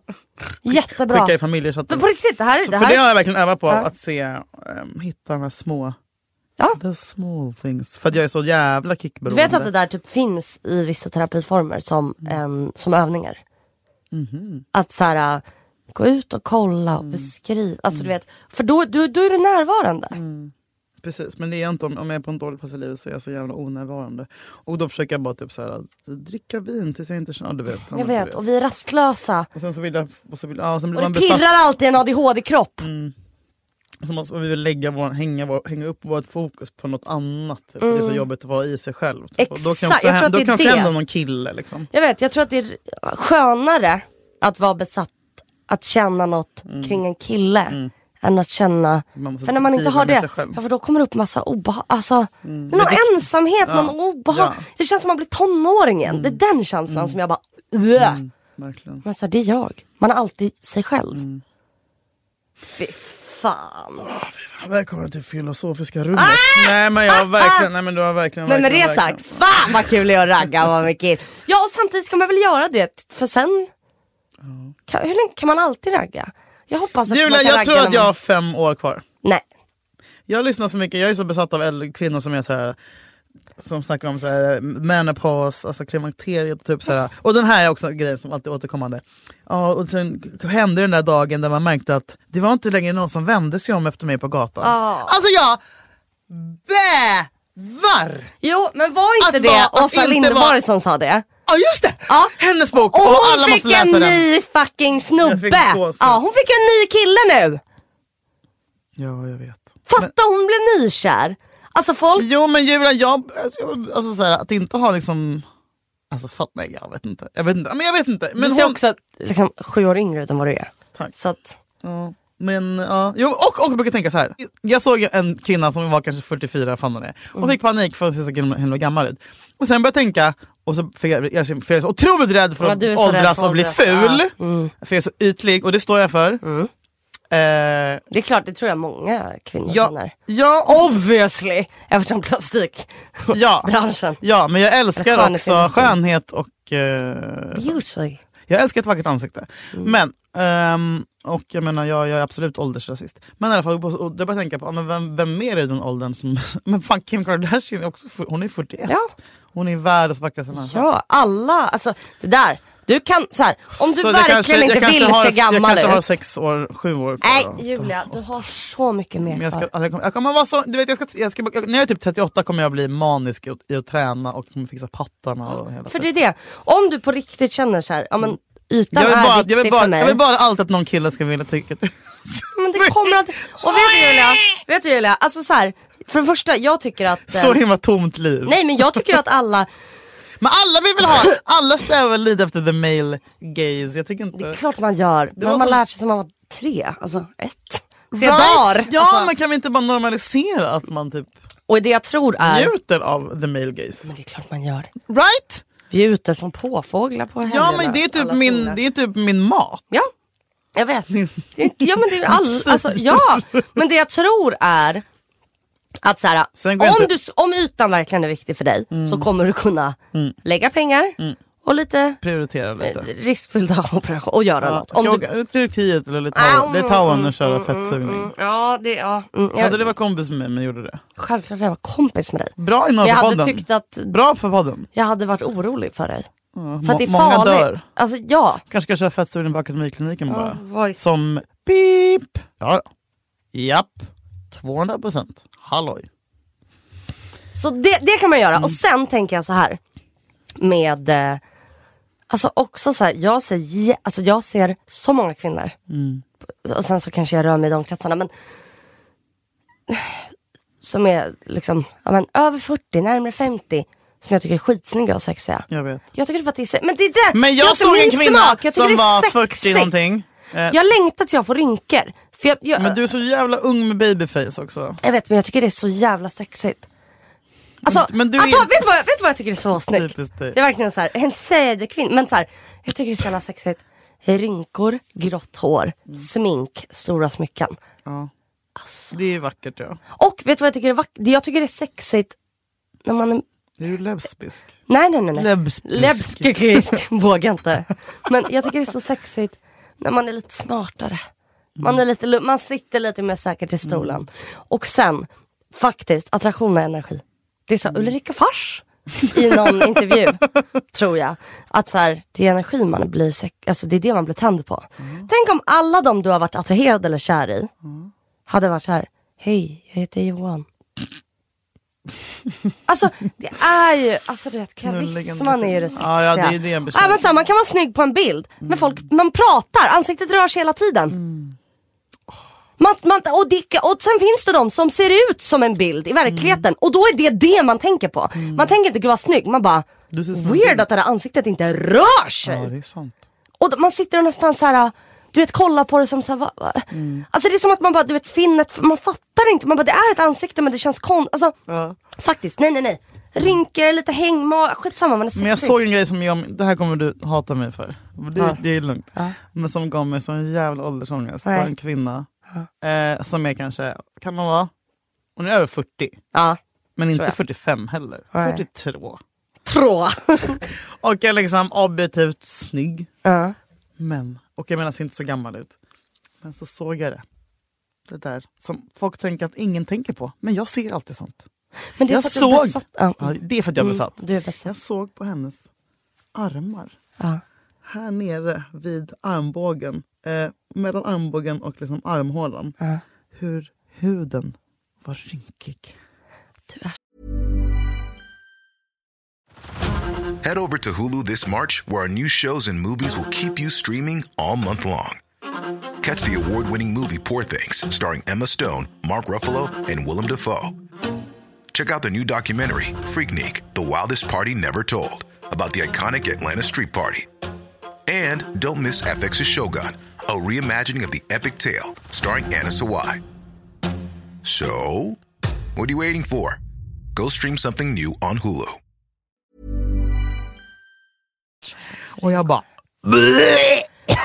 Speaker 1: Jättebra.
Speaker 2: Skickar i familjechatten.
Speaker 1: Men på riktigt, det här är
Speaker 2: Så
Speaker 1: det
Speaker 2: för det har
Speaker 1: här.
Speaker 2: jag verkligen övat på,
Speaker 1: Ja.
Speaker 2: att se, ehm, hitta de här små,
Speaker 1: Ja.
Speaker 2: the small things. För att jag är så jävla
Speaker 1: Du
Speaker 2: kickberoende.
Speaker 1: vet att det där typ finns i vissa terapiformer som, en, som övningar.
Speaker 2: Mhm.
Speaker 1: Att så här, äh, gå ut och kolla
Speaker 2: Mm.
Speaker 1: och beskriva. Alltså du vet, för då, då, då är du närvarande.
Speaker 2: Precis, men det är jag inte om, om jag är på en dålig plats i livet så är jag så jävla onärvarande. Och då försöker jag bara typ så här, dricka vin tills jag inte känner, ja, du vet. ja,
Speaker 1: Jag
Speaker 2: men du
Speaker 1: vet, och vi är rastlösa.
Speaker 2: Och sen så vill jag, och så vill, ja, sen blir
Speaker 1: Och
Speaker 2: man
Speaker 1: det
Speaker 2: besatt. Mm.
Speaker 1: pirrar alltid i en ADHD-kropp.
Speaker 2: Så måste, och vi vill lägga vår, hänga, vår, hänga upp vårt fokus på något annat. Typ. Det är så jobbigt att vara i sig själv. Typ. Och då kan
Speaker 1: Mm. Exakt,
Speaker 2: också,
Speaker 1: jag tror
Speaker 2: hä-
Speaker 1: att
Speaker 2: då
Speaker 1: det är
Speaker 2: kan också
Speaker 1: det.
Speaker 2: hända någon kille liksom.
Speaker 1: Jag vet, jag tror att det är skönare att vara besatt, att känna något kring en kille. Än att känna,
Speaker 2: Mm. Man måste
Speaker 1: för när man inte
Speaker 2: driva
Speaker 1: har
Speaker 2: med
Speaker 1: det,
Speaker 2: sig själv. Mm.
Speaker 1: ja, för då kommer det upp massa obehag, alltså det är någon ensamhet, någon obehag.
Speaker 2: ja. Mm.
Speaker 1: Det känns som man blir tonåring igen, det är den känslan som jag bara, Ugh.
Speaker 2: Verkligen. Mm.
Speaker 1: Men så här, det är jag, man är alltid sig själv. Fy fan.
Speaker 2: Välkommen till filosofiska rummet. Nej men jag har verkligen, nej men du har verkligen.
Speaker 1: Ah! Men med
Speaker 2: verkligen,
Speaker 1: det
Speaker 2: verkligen.
Speaker 1: sagt, fan vad kul det är att ragga vad mycket kul. Ja och samtidigt ska man väl göra det för sen kan, hur länge kan man alltid ragga? Jag hoppas att man
Speaker 2: Julia
Speaker 1: kan
Speaker 2: jag
Speaker 1: ragga
Speaker 2: tror
Speaker 1: när
Speaker 2: att jag har
Speaker 1: man...
Speaker 2: fem år kvar.
Speaker 1: Nej.
Speaker 2: Jag lyssnar så mycket, jag är så besatt av äldre kvinnor som är så här som snackar om så här, menopaus, alltså klimakteriet. Typ så här. Och den här är också en grej som alltid är återkommande. Ja, och sen hände den där dagen där man märkte att det var inte längre någon som vände sig om efter mig på gatan.
Speaker 1: Ah.
Speaker 2: Alltså jag bävar!
Speaker 1: Jo men var inte
Speaker 2: Att
Speaker 1: det
Speaker 2: vara- att
Speaker 1: Åsa
Speaker 2: inte
Speaker 1: Linderborg
Speaker 2: vara-
Speaker 1: som sa det?
Speaker 2: Ja just det!
Speaker 1: Ja.
Speaker 2: Hennes bok!
Speaker 1: Och
Speaker 2: Och,
Speaker 1: hon
Speaker 2: alla
Speaker 1: fick
Speaker 2: måste läsa
Speaker 1: en
Speaker 2: den.
Speaker 1: ny fucking
Speaker 2: Jag
Speaker 1: snubbe.
Speaker 2: fick gåshud.
Speaker 1: Ja, hon fick en ny kille nu.
Speaker 2: Ja jag vet.
Speaker 1: Fatta hon blev nykär. Alltså folk,
Speaker 2: Jo men Julia, jag, alltså, jag- alltså så här, att inte ha liksom... Alltså fatt, nej jag vet inte. Jag vet inte. Men jag vet inte. Men
Speaker 1: du ser
Speaker 2: hon-
Speaker 1: också liksom, sju år yngre ut än vad du är.
Speaker 2: Tack.
Speaker 1: Så att,
Speaker 2: Ja, men ja. Jo, och, och jag brukar tänka så här. Jag såg en kvinna som var kanske 44, fan hon är. Hon
Speaker 1: Mm.
Speaker 2: fick panik för att hon såg henne var gammal ut. Och sen började jag tänka, och så fick jag, jag, för jag är så otroligt rädd för
Speaker 1: Ja,
Speaker 2: att
Speaker 1: du är så rädd
Speaker 2: åldras
Speaker 1: för
Speaker 2: och bli
Speaker 1: åldras.
Speaker 2: ful.
Speaker 1: Ja, mm.
Speaker 2: För jag är så ytlig och det står jag för. Eh,
Speaker 1: det är klart, det tror jag många kvinnor
Speaker 2: ja,
Speaker 1: känner.
Speaker 2: ja,
Speaker 1: Obviously! Eftersom plastikbranschen.
Speaker 2: ja, ja, men jag älskar också
Speaker 1: Skönhetsindustrin.
Speaker 2: skönhet och eh,
Speaker 1: Beauty.
Speaker 2: Jag älskar ett vackert ansikte.
Speaker 1: Mm.
Speaker 2: Men, ehm, och jag menar jag, jag är absolut åldersrasist. Men i alla fall, och jag började tänka på, ah, men vem, vem mer är i den åldern som... Men fan Kim Kardashian är också, fu- hon är 41.
Speaker 1: Ja.
Speaker 2: Hon är världens vackraste människa.
Speaker 1: Ja, alla. Alltså det där. Du kan, så här, om du
Speaker 2: Så det
Speaker 1: verkligen
Speaker 2: kanske- jag
Speaker 1: inte
Speaker 2: kanske
Speaker 1: vill
Speaker 2: har,
Speaker 1: se
Speaker 2: Jag
Speaker 1: gammal
Speaker 2: kanske har
Speaker 1: ut.
Speaker 2: sex år, sju år
Speaker 1: Nej
Speaker 2: då.
Speaker 1: Julia, du har så mycket mer
Speaker 2: Men jag, ska,
Speaker 1: kvar.
Speaker 2: alltså jag, kommer, jag kommer vara så, du vet, jag ska, jag ska, jag, när jag är typ 38 kommer jag bli manisk i, att- i att träna och kommer fixa pattarna och hela
Speaker 1: För det
Speaker 2: tiden.
Speaker 1: är det, om du på riktigt känner så här, ja men ytan
Speaker 2: jag vill,
Speaker 1: är
Speaker 2: bara,
Speaker 1: viktig
Speaker 2: jag, vill bara,
Speaker 1: för mig.
Speaker 2: jag vill bara alltid att någon kille ska vilja tycka att
Speaker 1: Men det kommer att... Och vet du Julia, vet du, Julia alltså så här, för det första jag tycker att... eh,
Speaker 2: så himla tomt liv.
Speaker 1: Nej men jag tycker att alla,
Speaker 2: Men alla vill väl ha, alla strävar väl lite efter the male gaze. Jag tycker
Speaker 1: det
Speaker 2: inte...
Speaker 1: är klart man gör. Men
Speaker 2: var
Speaker 1: man har
Speaker 2: som-
Speaker 1: lärt sig som man var tre, alltså ett. Tre
Speaker 2: Right?
Speaker 1: dagar.
Speaker 2: Ja
Speaker 1: alltså.
Speaker 2: men kan vi inte bara normalisera att man typ
Speaker 1: Och det jag tror är...
Speaker 2: njuter av the male gaze?
Speaker 1: Men det är klart man gör.
Speaker 2: Right?
Speaker 1: Vi är ute som påfåglar på helgerna.
Speaker 2: Ja men det är typ
Speaker 1: alla
Speaker 2: min,
Speaker 1: fingrar.
Speaker 2: det är typ min mat.
Speaker 1: Ja, jag vet. Det är, ja, men det är all, alltså, ja, men det jag tror är att så här,
Speaker 2: Sen går jag
Speaker 1: om,
Speaker 2: inte- Mm.
Speaker 1: du, om ytan verkligen är viktig för dig så kommer du kunna lägga pengar och lite
Speaker 2: Prioritera lite.
Speaker 1: eh, riskfyllda operationer och göra
Speaker 2: Ja,
Speaker 1: något.
Speaker 2: ska
Speaker 1: Om
Speaker 2: jag
Speaker 1: du,
Speaker 2: åka ut till Turkiet eller
Speaker 1: Ah,
Speaker 2: Litauen,
Speaker 1: mm,
Speaker 2: Litauen
Speaker 1: mm,
Speaker 2: och köra
Speaker 1: mm,
Speaker 2: fettsugning?
Speaker 1: mm, ja, det, ja, mm, jag,
Speaker 2: Hade du varit kompis med mig men gjorde det?
Speaker 1: Självklart jag var kompis med dig.
Speaker 2: Bra innehåll
Speaker 1: Jag
Speaker 2: för
Speaker 1: hade
Speaker 2: podden.
Speaker 1: tyckt att
Speaker 2: Bra för podden.
Speaker 1: jag hade varit orolig för dig. För
Speaker 2: Må-
Speaker 1: att det är
Speaker 2: många
Speaker 1: farligt.
Speaker 2: dör.
Speaker 1: Alltså ja.
Speaker 2: Kanske ska jag köra fettsugning på akademikliniken bara.
Speaker 1: var-
Speaker 2: Som pip. Ja, då. Japp. 200 procent. Halloj.
Speaker 1: Så det, det kan man göra.
Speaker 2: Mm.
Speaker 1: Och sen tänker jag så här. Med, eh, alltså också så här, jag ser, jä- alltså jag ser så många kvinnor.
Speaker 2: Mm.
Speaker 1: Och sen så kanske jag rör mig i de kretsarna. Men, som är liksom, ja, men, över 40, närmare 50. Som jag tycker är skitsnygga och sexiga.
Speaker 2: Jag vet.
Speaker 1: Jag tycker bara att det är se- Men det är där,
Speaker 2: Men
Speaker 1: det är
Speaker 2: jag
Speaker 1: inte
Speaker 2: såg
Speaker 1: min
Speaker 2: en kvinna
Speaker 1: smak. Jag tycker
Speaker 2: som
Speaker 1: det är
Speaker 2: var 40
Speaker 1: sexigt.
Speaker 2: någonting. Eh,
Speaker 1: Jag längtar till jag får rynkor. För jag, jag,
Speaker 2: Men du är så jävla ung med babyface också.
Speaker 1: Jag vet men jag tycker det är så jävla sexigt. Alltså,
Speaker 2: Men du
Speaker 1: att
Speaker 2: är-
Speaker 1: ha, vet, du vad, jag- vet du vad jag tycker är så snyggt?
Speaker 2: Typiskt dig.
Speaker 1: Det är verkligen så här, en säderkvinna. Men så här, jag tycker det är så jävla sexigt. Rynkor, grått hår, smink, stora smycken.
Speaker 2: Ja. Alltså. Det är vackert ja.
Speaker 1: Och vet du vad jag tycker är vackert? Det jag tycker är sexigt när man är...
Speaker 2: Är du lesbisk?
Speaker 1: Nej nej nej. nej.
Speaker 2: Lebsbisk.
Speaker 1: Lebskisk. Vågar inte. Men jag tycker det är så sexigt när man är lite smartare. Man, är lite, lu- man sitter lite mer säkert i stolen. Och sen, faktiskt, attraktion är energi. Det sa Ulrika Fars i någon intervju, tror jag. Att så här, det är energi man blir sex, alltså det är det man blir tänd på. Tänk om alla de du har varit attraherad eller kär i hade varit så här, hej, jag heter Johan. alltså det är ju, alltså du vet karisman är ju det sexiga.
Speaker 2: Ja, ja, det är det jag Mm. bekänner.
Speaker 1: Ja, men så här, man kan vara snygg på en bild, men folk, man pratar, ansiktet rör sig hela tiden.
Speaker 2: Mm.
Speaker 1: Man, man, och, det, och sen finns det de som ser ut som en bild i verkligheten
Speaker 2: Mm.
Speaker 1: och då är det det man tänker på. Man tänker inte gud vad snygg, man bara
Speaker 2: Du ser Mm. som en
Speaker 1: weird Typ.
Speaker 2: bild.
Speaker 1: att det där ansiktet inte rör sig.
Speaker 2: Ja det är sant.
Speaker 1: Och då- man sitter och nästan så här. Du vet kolla på det som såhär, va, va? Alltså det är som att man bara, du vet finnet, man fattar inte, man bara det är ett ansikte men det känns konstigt, alltså faktiskt, nej nej nej. Rynkor, lite hängmage, skitsamma man är
Speaker 2: Men jag
Speaker 1: sexig.
Speaker 2: såg en grej som jag, det här kommer du hata mig för. Det,
Speaker 1: Ja.
Speaker 2: det är lugnt.
Speaker 1: Ja.
Speaker 2: Men som gav mig sån jävla åldersångest på
Speaker 1: Nej.
Speaker 2: en kvinna. eh, som är kanske, kan hon vara, hon är över 40
Speaker 1: Ja.
Speaker 2: men inte
Speaker 1: jag.
Speaker 2: 45 heller,
Speaker 1: Nej.
Speaker 2: 42.
Speaker 1: Trå.
Speaker 2: Och är liksom objektivt snygg,
Speaker 1: ja.
Speaker 2: men, och jag menar ser inte så gammal ut. Men så såg jag det. Det där som folk tänker att ingen tänker på, men jag ser alltid sånt.
Speaker 1: Men det är
Speaker 2: Jag
Speaker 1: för att du är
Speaker 2: såg.
Speaker 1: besatt. Ja. Mm.
Speaker 2: Ja, det är för att jag är besatt.
Speaker 1: Du är besatt.
Speaker 2: Jag såg på hennes armar.
Speaker 1: Ja.
Speaker 2: Här nere vid armbågen, eh, mellan armbågen och liksom armhålan,
Speaker 1: Ja.
Speaker 2: hur huden var rynkig.
Speaker 1: Du är
Speaker 3: Head over to Hulu this March, where our new shows and movies will keep you streaming all month long. Catch the award winning movie Poor Things, starring Emma Stone, Mark Ruffalo, and Willem Dafoe. Check out the new documentary, Freaknik The Wildest Party Never Told, about the iconic Atlanta Street Party. And don't miss FX's Shogun, a reimagining of the epic tale, starring Anna Sawai. So, what are you waiting for? Go stream something new on Hulu.
Speaker 2: Och jag bara...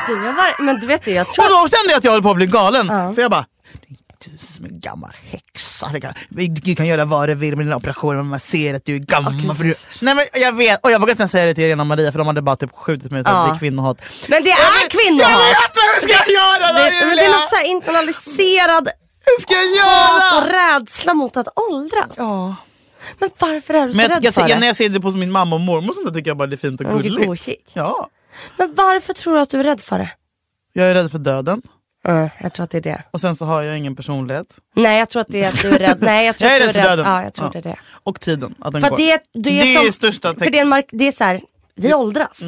Speaker 1: Du har varit, men du vet ju, jag tror...
Speaker 2: Och då kände jag att jag höll på att bli galen. För jag bara... Du som är en gammal häxa. Det kan, du kan göra vad du vill med dina operationer men man ser att du är gammal.
Speaker 1: Åh, gud,
Speaker 2: för du,
Speaker 1: Jesus.
Speaker 2: nej, men jag vet, och jag vågade inte ens säga det till Irena och Maria för de hade bara typ skjutit mig och sagt
Speaker 1: Ja.
Speaker 2: att det är kvinnohat.
Speaker 1: Men det är
Speaker 2: Jag vet- Jag
Speaker 1: kvinnohat!
Speaker 2: vet, men hur ska jag göra då
Speaker 1: Det, men det är
Speaker 2: Julia?
Speaker 1: något så här internaliserad
Speaker 2: Hur ska jag
Speaker 1: hat och
Speaker 2: göra?
Speaker 1: rädsla mot att åldras.
Speaker 2: Ja.
Speaker 1: Men varför är du så
Speaker 2: Men jag,
Speaker 1: rädd
Speaker 2: jag,
Speaker 1: för
Speaker 2: när
Speaker 1: det?
Speaker 2: jag ser det på min mamma och mormor sånt där tycker jag bara det är fint och
Speaker 1: Men vilken
Speaker 2: gulligt.
Speaker 1: godkik.
Speaker 2: Ja.
Speaker 1: Men varför tror du att du är rädd för det?
Speaker 2: Jag är rädd för döden
Speaker 1: Mm, jag tror att det är det.
Speaker 2: och sen så har jag ingen personlighet.
Speaker 1: Nej jag tror att det är att du är rädd. Nej, jag, tror
Speaker 2: Jag är
Speaker 1: att
Speaker 2: rädd
Speaker 1: du
Speaker 2: för döden.
Speaker 1: Ja, jag tror
Speaker 2: Ja.
Speaker 1: det är det.
Speaker 2: Och tiden, att den
Speaker 1: För
Speaker 2: går.
Speaker 1: att det, är- det är,
Speaker 2: Det
Speaker 1: som,
Speaker 2: är största Mm.
Speaker 1: För det är, en mark, det är så här, vi åldras.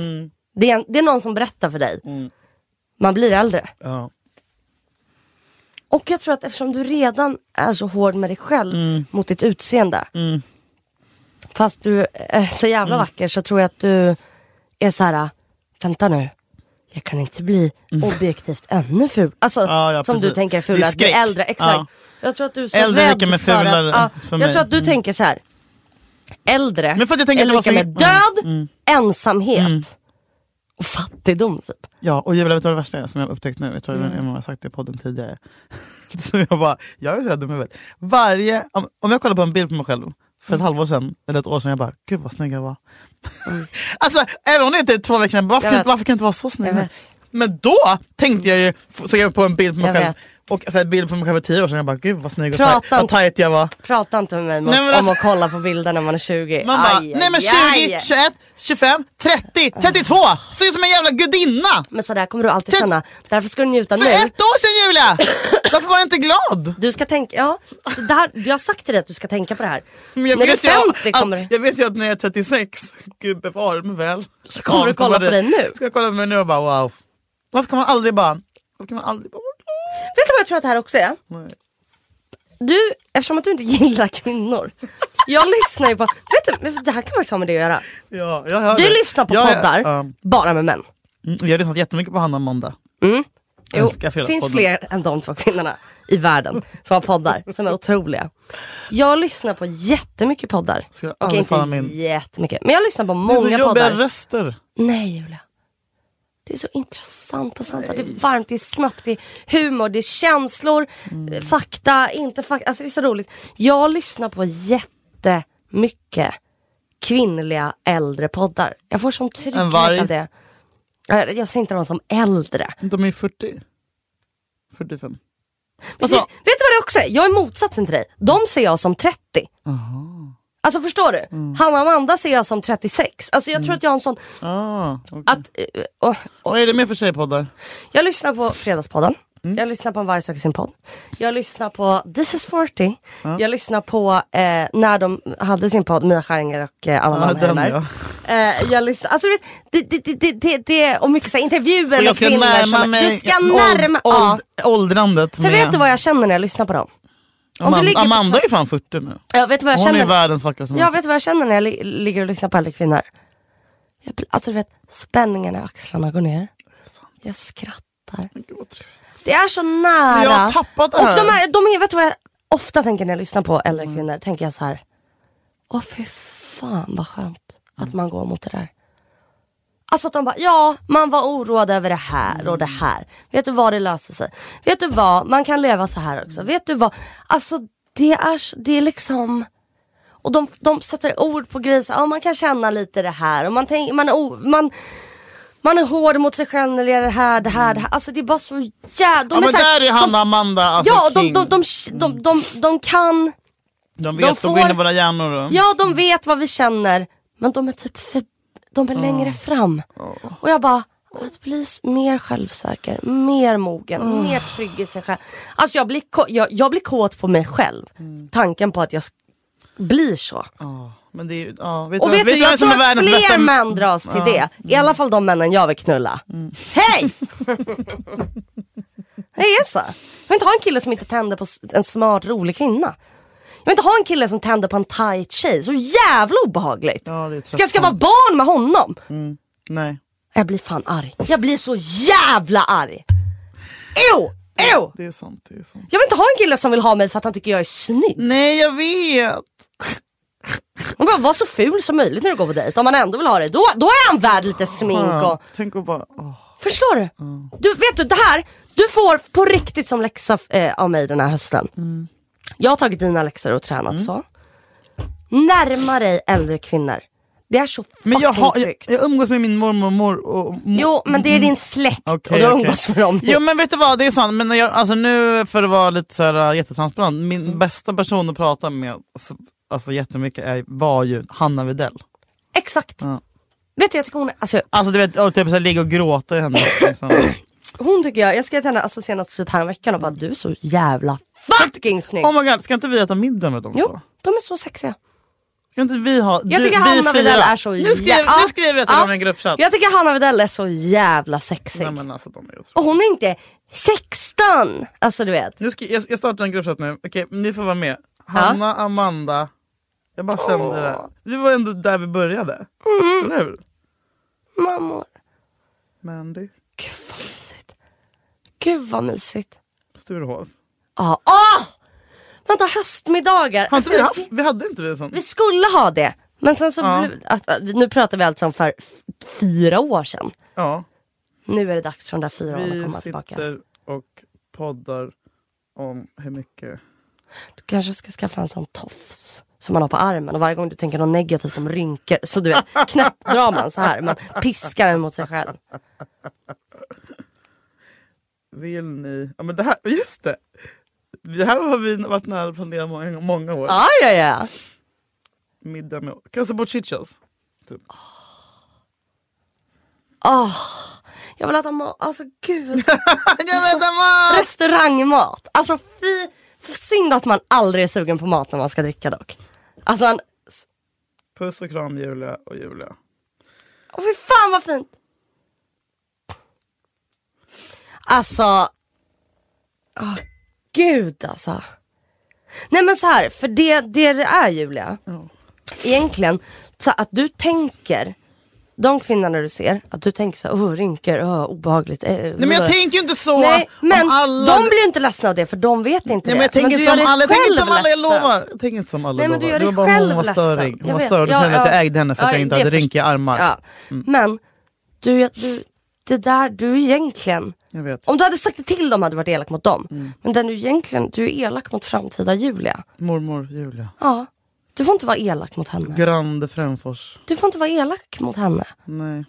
Speaker 1: Det, är, en- det är någon som berättar för dig. Man blir äldre.
Speaker 2: ja.
Speaker 1: Och jag tror att eftersom du redan är så hård med dig själv
Speaker 2: Mm.
Speaker 1: mot ditt utseende. Fast du är så
Speaker 2: Mm.
Speaker 1: jävla vacker så tror jag att du är så här, vänta nu. Jag kan inte bli objektivt ännu ful. Alltså
Speaker 2: Mm. Ja, ja,
Speaker 1: som
Speaker 2: precis.
Speaker 1: du tänker är
Speaker 2: Det
Speaker 1: ful,
Speaker 2: är
Speaker 1: att bli
Speaker 2: skräck.
Speaker 1: äldre. Exakt.
Speaker 2: Ja.
Speaker 1: Jag tror att du är så
Speaker 2: Äldre är
Speaker 1: rädd
Speaker 2: lika med
Speaker 1: för
Speaker 2: fulare
Speaker 1: att, ja,
Speaker 2: för
Speaker 1: Jag
Speaker 2: mig. Mm.
Speaker 1: tror att du tänker så här. Äldre
Speaker 2: Men för att jag tänker
Speaker 1: är
Speaker 2: att det var
Speaker 1: lika
Speaker 2: så-
Speaker 1: med
Speaker 2: Mm,
Speaker 1: död, ensamhet och fattigdom typ.
Speaker 2: Ja, och jag vet du vad det värsta är som jag har upptäckt nu? Jag tror mm. jag har sagt det i podden tidigare. så jag bara, jag är så här dum i huvudet. Varje, om, om jag kollar på en bild på mig själv för
Speaker 1: Mm.
Speaker 2: ett halvår sedan, eller ett år sedan, jag bara, gud vad snygg jag var. alltså, även om det inte är två veckor sedan, varför,
Speaker 1: Mm. Jag
Speaker 2: kan,
Speaker 1: vet.
Speaker 2: varför kan jag inte vara så snygg?
Speaker 1: Jag vet.
Speaker 2: Men då tänkte jag ju, f- såg jag på en bild på mig
Speaker 1: Jag
Speaker 2: själv,
Speaker 1: vet.
Speaker 2: och alltså, en bild på mig själv för tio år sedan, jag bara, gud vad snygg och
Speaker 1: Prata
Speaker 2: tajt, vad
Speaker 1: inte-
Speaker 2: tajt jag var.
Speaker 1: Prata inte med mig om,
Speaker 2: Nej, men
Speaker 1: om
Speaker 2: alltså-
Speaker 1: att kolla på bilder när man är 20.
Speaker 2: Man bara,
Speaker 1: Aj,
Speaker 2: nej men
Speaker 1: aj,
Speaker 2: 20,
Speaker 1: aj.
Speaker 2: 21, 25, 30, 32! Ser ut som en jävla gudinna!
Speaker 1: Men sådär kommer du alltid
Speaker 2: Tänk-
Speaker 1: känna. Därför ska du njuta
Speaker 2: För
Speaker 1: nu.
Speaker 2: ett år sedan Julia! Varför var jag inte glad?
Speaker 1: Du ska tänka, ja. så Det här, jag har sagt till dig att du ska tänka på det här.
Speaker 2: Men jag
Speaker 1: när du är
Speaker 2: vet ju
Speaker 1: 50
Speaker 2: att-
Speaker 1: kommer
Speaker 2: Jag vet ju att när jag är 36, gud bevare mig väl. Så
Speaker 1: kommer du kolla på dig nu?
Speaker 2: Ska jag kolla på mig nu och bara wow. Varför kan man aldrig bara... Varför kan man aldrig bara vara
Speaker 1: Vet du vad jag tror att det här också är?
Speaker 2: glad? Nej.
Speaker 1: Du, eftersom att du inte gillar kvinnor. Jag lyssnar ju på, vet du, men det här kan faktiskt ha med det att göra.
Speaker 2: Ja, jag hör
Speaker 1: Du
Speaker 2: det.
Speaker 1: lyssnar på
Speaker 2: Jag-
Speaker 1: poddar,
Speaker 2: ja.
Speaker 1: bara med män.
Speaker 2: Mm, vi har lyssnat jättemycket på Hanna Monda. Jag
Speaker 1: Jo,
Speaker 2: älskar
Speaker 1: finns
Speaker 2: Fredagspodden.
Speaker 1: fler än de två kvinnorna i världen som har poddar som är otroliga. Jag lyssnar på jättemycket poddar.
Speaker 2: Ska jag
Speaker 1: Okej,
Speaker 2: aldrig
Speaker 1: inte
Speaker 2: falla min-
Speaker 1: jättemycket. Men jag lyssnar på
Speaker 2: Det är så
Speaker 1: många
Speaker 2: jobbiga
Speaker 1: poddar.
Speaker 2: röster.
Speaker 1: Nej Julia. Det är så intressant och samtal. Det är varmt, det är snabbt, det är humor, det är känslor,
Speaker 2: Mm.
Speaker 1: eh, fakta, inte fakta. Alltså det är så roligt. Jag lyssnar på jättemycket kvinnliga äldre poddar. Jag får sån
Speaker 2: En
Speaker 1: trygghet
Speaker 2: varg.
Speaker 1: av det. Eh, Jag ser inte dem som äldre.
Speaker 2: De är 40. 45.
Speaker 1: Alltså, vet du vad det också är? Jag är motsatsen till dig. De ser jag som 30. Alltså förstår du?
Speaker 2: Mm.
Speaker 1: Hanna och Amanda ser jag som 36. Alltså jag tror att jag har en sån...
Speaker 2: Ah, okej.
Speaker 1: Att, eh, och, och,
Speaker 2: Vad är det mer för tjejpoddar?
Speaker 1: jag lyssnar på Fredagspodden.
Speaker 2: Mm.
Speaker 1: Jag lyssnar på En varg söker sin podd. Jag lyssnar på This is 40. Jag lyssnar på eh, när de hade sin podd, Mia Skäringer och eh, Anna
Speaker 2: Ja,
Speaker 1: Malmheimer.
Speaker 2: den,
Speaker 1: eh, jag lyssnar, alltså du vet, det, det, det, det, det, och mycket så här, intervjuer
Speaker 2: Så
Speaker 1: med
Speaker 2: jag ska
Speaker 1: kvinnor.
Speaker 2: närma
Speaker 1: som,
Speaker 2: mig
Speaker 1: du ska närma,
Speaker 2: åld,
Speaker 1: ja.
Speaker 2: åld, åldrandet
Speaker 1: För
Speaker 2: med...
Speaker 1: vet du vad jag känner när jag lyssnar på dem? om du
Speaker 2: Amanda,
Speaker 1: ligger på-
Speaker 2: Amanda är ju fan 40 nu.
Speaker 1: Jag vet du vad jag
Speaker 2: Hon
Speaker 1: känner.
Speaker 2: är världens vackraste
Speaker 1: Jag vet vad jag känner när jag li- ligger och lyssnar på äldre kvinnor. Jag, blir- alltså du vet, spänningen i axlarna går ner. Jag skrattar.
Speaker 2: Gud, vad trevligt.
Speaker 1: Det är så nära.
Speaker 2: Jag har tappat det
Speaker 1: och
Speaker 2: här.
Speaker 1: de är, de är, vet du vad jag ofta tänker när jag lyssnar på äldre kvinnor? Tänker jag så här. Åh fy fan vad skönt att man går mot det där. Alltså att de bara, ja man var oroad över det här och det här. Vet du vad, det löser sig. Vet du vad, man kan leva så här också. Vet du vad, alltså det är, s- det är liksom och de, de sätter ord på grejer, så, ja, man kan känna lite det här och man, tänker, man, är o, man, man är hård mot sig själv när det gäller det här, det här, det här. Alltså det är bara så jävla... De
Speaker 2: Ja, men
Speaker 1: så här-
Speaker 2: där är Hanna Amanda alltså
Speaker 1: Ja, de,
Speaker 2: king.
Speaker 1: de, de, de, de, de kan,
Speaker 2: De
Speaker 1: de
Speaker 2: vet, de, går
Speaker 1: får-
Speaker 2: in i våra hjärnor. och-
Speaker 1: ja de vet vad vi känner men de är typ för, de är
Speaker 2: Ah.
Speaker 1: längre fram. Och jag bara, att bli s- mer självsäker, mer mogen,
Speaker 2: Ah.
Speaker 1: mer trygg i sig själv. Alltså jag blir, ko- jag, jag blir kåt på mig själv.
Speaker 2: Mm.
Speaker 1: Tanken på att jag s- blir så.
Speaker 2: Ja, Men det är, ju- ja, vet
Speaker 1: Och
Speaker 2: du,
Speaker 1: vet du,
Speaker 2: vet
Speaker 1: jag
Speaker 2: vem som
Speaker 1: tror
Speaker 2: är
Speaker 1: att
Speaker 2: världens
Speaker 1: fler
Speaker 2: bästa...
Speaker 1: män dras till det. I alla fall de männen jag vill knulla.
Speaker 2: Mm.
Speaker 1: Hej! det är så. Jag vill inte ha en kille som inte tänder på s- en smart, rolig kvinna. Jag vill inte ha en kille som tänder på en tight tjej. Så jävla obehagligt.
Speaker 2: Ja, det är
Speaker 1: ska jag ska vara
Speaker 2: tröttsamt.
Speaker 1: barn med honom?
Speaker 2: Nej.
Speaker 1: Jag blir fan arg. Jag blir så jävla arg. Ew! Ew!
Speaker 2: Det är sant, det är sant.
Speaker 1: Jag vill inte ha en kille som vill ha mig för att han tycker jag är snygg.
Speaker 2: Nej jag vet.
Speaker 1: Man bara, var så ful som möjligt när du går på dejt. Om man ändå vill ha det, då, då är han värd lite smink och...
Speaker 2: Tänk och bara, åh.
Speaker 1: Förstår du?
Speaker 2: Mm.
Speaker 1: du? Vet du, det här, du får på riktigt som läxa eh, av mig den här hösten.
Speaker 2: Mm.
Speaker 1: Jag har tagit dina läxor och tränat så. Närma dig äldre kvinnor. Det är så fucking
Speaker 2: Men jag, har, jag,
Speaker 1: tryggt.
Speaker 2: jag umgås med min mormor och mor och mor.
Speaker 1: Jo, men det är din släkt
Speaker 2: Okej,
Speaker 1: och du
Speaker 2: okej.
Speaker 1: umgås med dem.
Speaker 2: Jo men vet du vad, det är sant. Men när jag, alltså nu för att vara lite så här, äh, jättetransparent, min
Speaker 1: Mm.
Speaker 2: bästa person att prata med alltså, alltså, jättemycket är, var ju Hanna Widell.
Speaker 1: Exakt.
Speaker 2: Ja.
Speaker 1: Vet du, jag tycker hon är, alltså,
Speaker 2: Alltså du vet, och typ så här, ligga och gråta i henne. Liksom.
Speaker 1: hon tycker jag, jag skrev till henne alltså, senast typ häromveckan och bara du är så jävla fucking snygg.
Speaker 2: oh my god, ska inte vi äta middag med dem
Speaker 1: Jo,
Speaker 2: då?
Speaker 1: de är så sexiga.
Speaker 2: Ska inte vi ha,
Speaker 1: Jag
Speaker 2: du,
Speaker 1: tycker
Speaker 2: vi
Speaker 1: Hanna
Speaker 2: fyra.
Speaker 1: Widell är så
Speaker 2: Nu skrev,
Speaker 1: jä-
Speaker 2: nu skrev jag till
Speaker 1: Ja.
Speaker 2: dem i en gruppchatt.
Speaker 1: Jag tycker Hanna Widell är så jävla sexig.
Speaker 2: Nej, men alltså, de är otroliga.
Speaker 1: Och hon är inte 16! Alltså du vet.
Speaker 2: Nu ska, jag, jag startar en gruppchatt nu, okej ni får vara med. Hanna, Amanda, jag bara kände det. där. Vi var ändå där vi började,
Speaker 1: Mm-hmm.
Speaker 2: eller hur?
Speaker 1: Mammor.
Speaker 2: Mandy,
Speaker 1: Gud vad mysigt. Gud vad mysigt.
Speaker 2: Sturehof.
Speaker 1: Ah, ah! Vänta, höstmiddagar.
Speaker 2: Har inte vi
Speaker 1: Alltså,
Speaker 2: haft, vi hade inte vi sånt?
Speaker 1: Vi skulle ha det. Men sen så,
Speaker 2: Ja.
Speaker 1: blev- att, att, nu pratar vi alltså om för f- fyra år sedan.
Speaker 2: Ja,
Speaker 1: Nu är det dags för de där fyra åren att
Speaker 2: vi
Speaker 1: komma tillbaka.
Speaker 2: sitter och poddar om hur mycket...
Speaker 1: Du kanske ska skaffa en sån tofs som man har på armen och varje gång du tänker något negativt om rynkor så du vet, knappt drar man så här. Man piskar den mot sig själv.
Speaker 2: Vill ni... Ja men det här, just det! Det här har vi varit nära att planera många, många år.
Speaker 1: Ah, ja, ja.
Speaker 2: Middag med... Kasta bort chichos. Typ.
Speaker 1: Åh, Ah, jag vill äta mat. Alltså gud.
Speaker 2: Jag vet inte
Speaker 1: Restaurangmat. Alltså fy. Synd att man aldrig är sugen på mat när man ska dricka dock. Alltså man,
Speaker 2: Puss och kram Julia och Julia.
Speaker 1: åh fy fan vad fint. Alltså. åh, gud alltså. Nej men så här, för det det, det är Julia. Egentligen, så att du tänker. De kvinnorna du ser, att du tänker så här, åh rynkor, åh obehagligt. eh,
Speaker 2: Nej men jag tänker ju inte så
Speaker 1: Nej, men
Speaker 2: om alla...
Speaker 1: de blir ju inte ledsna av det för de vet inte
Speaker 2: Nej,
Speaker 1: det.
Speaker 2: men jag tänker
Speaker 1: du
Speaker 2: inte
Speaker 1: gör
Speaker 2: som
Speaker 1: dig
Speaker 2: alla, jag tänker inte som
Speaker 1: själv
Speaker 2: alla, jag
Speaker 1: ledsen.
Speaker 2: lovar. Jag tänker inte som alla
Speaker 1: Nej, men
Speaker 2: lovar.
Speaker 1: du gör
Speaker 2: det var
Speaker 1: dig
Speaker 2: bara hon
Speaker 1: själv
Speaker 2: var
Speaker 1: ledsen.
Speaker 2: störig. Hon
Speaker 1: Jag
Speaker 2: var
Speaker 1: vet.
Speaker 2: störig,
Speaker 1: Ja,
Speaker 2: ja, kände att
Speaker 1: ja.
Speaker 2: jag ägde henne för att
Speaker 1: Ja,
Speaker 2: jag inte
Speaker 1: det
Speaker 2: hade
Speaker 1: först-
Speaker 2: rynkiga armar. Mm.
Speaker 1: Ja. Men du, du, det där, du är egentligen
Speaker 2: Jag vet.
Speaker 1: om du hade sagt det till dem hade du varit elak mot dem.
Speaker 2: Mm.
Speaker 1: Men den du egentligen, du är elak mot framtida Julia.
Speaker 2: Mormor Julia.
Speaker 1: Ja. Du får inte vara elak mot henne.
Speaker 2: Grande Fränfors.
Speaker 1: Du får inte vara elak mot henne.
Speaker 2: Nej.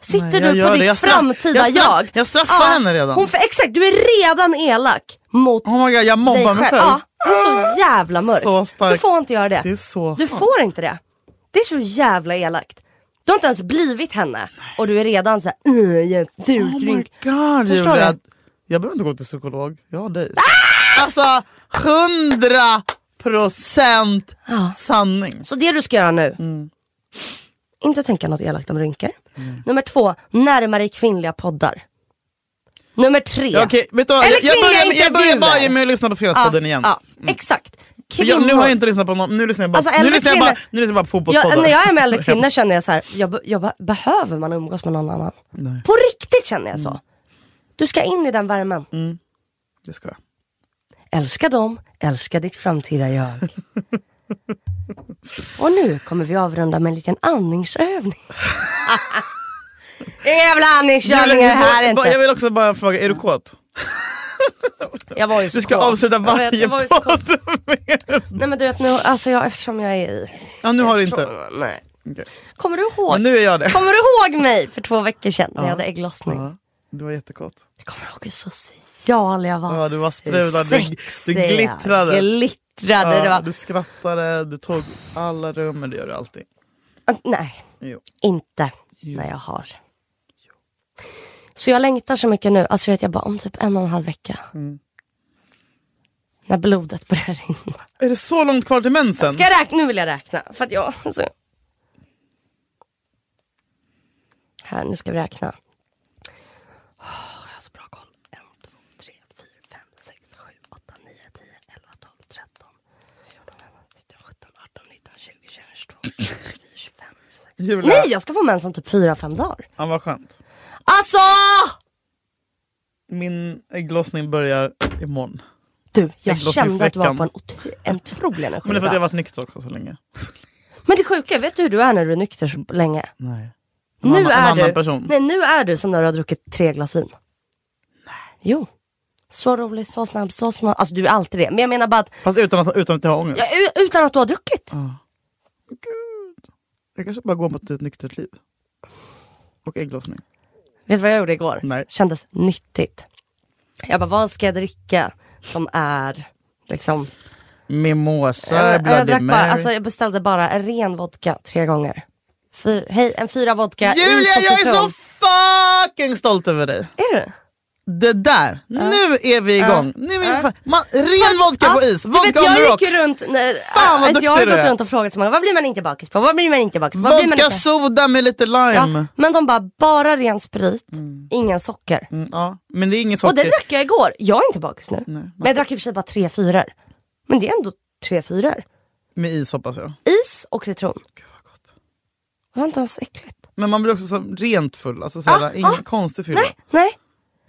Speaker 1: Sitter
Speaker 2: Nej, jag
Speaker 1: du
Speaker 2: gör
Speaker 1: på
Speaker 2: det.
Speaker 1: ditt
Speaker 2: Jag straff-
Speaker 1: framtida
Speaker 2: jag straff-
Speaker 1: jag?
Speaker 2: jag straffar henne redan.
Speaker 1: Hon, exakt, du är redan elak mot
Speaker 2: Oh my god, jag
Speaker 1: dig
Speaker 2: mobbar
Speaker 1: själv.
Speaker 2: mig själv.
Speaker 1: Ja, det är så jävla mörkt.
Speaker 2: Så starkt.
Speaker 1: du får inte göra det.
Speaker 2: Det är så
Speaker 1: Du
Speaker 2: sant.
Speaker 1: får inte det. Det är så jävla elakt. Du har inte ens blivit henne och du är redan såhär, "Ugh, jag är fult
Speaker 2: Oh my
Speaker 1: rynk."
Speaker 2: god
Speaker 1: Förstår
Speaker 2: Julia.
Speaker 1: du?
Speaker 2: Jag behöver inte gå till psykolog, jag har dig. Alltså, hundra procent sanning.
Speaker 1: Så det du ska göra nu,
Speaker 2: Mm.
Speaker 1: inte tänka något elakt om rynkor. Nummer två, närma dig kvinnliga poddar. Nummer tre,
Speaker 2: Ja, Okej, vet du vad?
Speaker 1: Eller
Speaker 2: Jag, jag,
Speaker 1: kvinnliga
Speaker 2: börjar, jag börjar
Speaker 1: intervjuer.
Speaker 2: bara ge mig att lyssna på
Speaker 1: ja,
Speaker 2: Fredagspodden igen.
Speaker 1: ja, exakt.
Speaker 2: För
Speaker 1: Kvinnor.
Speaker 2: jag, nu har jag inte lyssnat på någon, nu lyssnar jag bara,
Speaker 1: Alltså,
Speaker 2: nu
Speaker 1: äldre
Speaker 2: lyssnar jag bara,
Speaker 1: kvinnor-
Speaker 2: nu lyssnar jag bara på fotbollspoddar.
Speaker 1: jag, när jag är med äldre kvinnor känner jag så här, jag, be- jag, be- behöver man umgås med någon annan?
Speaker 2: Nej. Mm.
Speaker 1: På riktigt känner jag så. Du ska in i den värmen.
Speaker 2: Det ska jag.
Speaker 1: Älska dem, älska ditt framtida jag. Och nu kommer vi avrunda med en liten andningsövning. Inga jävla andningskörningar här
Speaker 2: jag,
Speaker 1: inte.
Speaker 2: vill också bara fråga, är du kåt?
Speaker 1: Jag var ju
Speaker 2: Du
Speaker 1: så
Speaker 2: ska
Speaker 1: kåt.
Speaker 2: avsluta
Speaker 1: Jag vet,
Speaker 2: varje
Speaker 1: jag var ju så kåt.
Speaker 2: podd med...
Speaker 1: Nej men du vet nu, alltså jag, eftersom jag är i...
Speaker 2: Ja, nu har du inte.
Speaker 1: Tror, nej.
Speaker 2: Okej.
Speaker 1: Kommer du ihåg?
Speaker 2: Men nu är jag det.
Speaker 1: Kommer du ihåg mig för två veckor sedan när jag hade ägglossning?
Speaker 2: Ja, du var jättekåt.
Speaker 1: Kommer du ihåg hur social jag var?
Speaker 2: Ja, du var sprudlande. Du, du
Speaker 1: Sexig,
Speaker 2: glittrade.
Speaker 1: glittrade. det
Speaker 2: Ja,
Speaker 1: var...
Speaker 2: du skrattade, du tog alla rum, men det gör du alltid.
Speaker 1: Ah, Nej,
Speaker 2: Jo.
Speaker 1: inte när jag har. Så jag längtar så mycket nu. Alltså du vet, jag bara om typ en och en halv vecka.
Speaker 2: Mm.
Speaker 1: När blodet börjar rinna.
Speaker 2: Är det så långt kvar till mensen?
Speaker 1: Ska jag räkna? Nu vill jag räkna. För att jag... Alltså. Här, nu ska vi räkna. Åh, jag har så bra koll. 1, 2, 3, 4, 5, 6, 7, 8, 9, 10, 11, 12, 13, 14, 15, 16, 17, 18, 19, 20, 21, 22, 24, 25, 26.
Speaker 2: Julia,
Speaker 1: Nej, jag ska få mens om typ 4-5 dagar.
Speaker 2: ja, vad skönt.
Speaker 1: Alltså!
Speaker 2: Min ägglossning börjar imorgon.
Speaker 1: Du, jag
Speaker 2: Ägglossningsveckan.
Speaker 1: kände att du var på en, otro- en otrolig energi.
Speaker 2: Men det är för
Speaker 1: idag.
Speaker 2: att jag har varit nykter också så länge.
Speaker 1: Men det sjuka, är, vet du hur du är när du är nykter så länge?
Speaker 2: Nej. En
Speaker 1: Nu
Speaker 2: annan- en
Speaker 1: är
Speaker 2: annan
Speaker 1: du,
Speaker 2: person.
Speaker 1: Nej, nu är du som när du har druckit tre glas vin. Nej. Jo. Så rolig, så snabb, så smart. Alltså du är alltid det. Men jag menar bara att
Speaker 2: Fast utan att, utan att jag har ångest.
Speaker 1: u- utan att du har druckit.
Speaker 2: Gud. Jag kanske bara går mot ett nyktert liv. Och ägglossning.
Speaker 1: Vet du vad jag gjorde igår?
Speaker 2: Nej.
Speaker 1: Kändes nyttigt. Jag bara, vad ska jag dricka som är liksom...
Speaker 2: Mimosa,
Speaker 1: jag, jag,
Speaker 2: Bloody
Speaker 1: drack
Speaker 2: Mary.
Speaker 1: bara, alltså, jag beställde bara en ren vodka tre gånger. Fyr, hej, en fyra vodka
Speaker 2: Julia,
Speaker 1: is och
Speaker 2: jag är så
Speaker 1: citron.
Speaker 2: fucking stolt över dig!
Speaker 1: Är du?
Speaker 2: Det där, nu är vi igång! Nu är vi
Speaker 1: Ja.
Speaker 2: fan, man, ren vodka på is,
Speaker 1: Du vet,
Speaker 2: vodka on
Speaker 1: jag
Speaker 2: the
Speaker 1: gick
Speaker 2: rocks!
Speaker 1: ju runt, nej,
Speaker 2: Fan, vad
Speaker 1: alltså, jag har ju
Speaker 2: duktig du
Speaker 1: gått
Speaker 2: är.
Speaker 1: runt och frågat så många, vad blir man inte bakis på? Vad blir man inte bakis på? Vad blir man
Speaker 2: Vodka
Speaker 1: inte?
Speaker 2: soda med lite lime.
Speaker 1: Ja, men de bara, bara ren sprit, ingen socker.
Speaker 2: Mm, ja. Men det är inget
Speaker 1: Och det
Speaker 2: socker.
Speaker 1: drack jag igår. Jag är inte bakis nu.
Speaker 2: man
Speaker 1: men jag drack i och för sig bara tre fyror. Men det är ändå tre fyror.
Speaker 2: Med is hoppas jag.
Speaker 1: Is och citron.
Speaker 2: Gud, vad gott.
Speaker 1: Det var inte ens äckligt.
Speaker 2: Men man blir också så rent full, alltså såhär,
Speaker 1: Ah,
Speaker 2: ingen
Speaker 1: ah.
Speaker 2: konstig fylla.
Speaker 1: Nej, nej.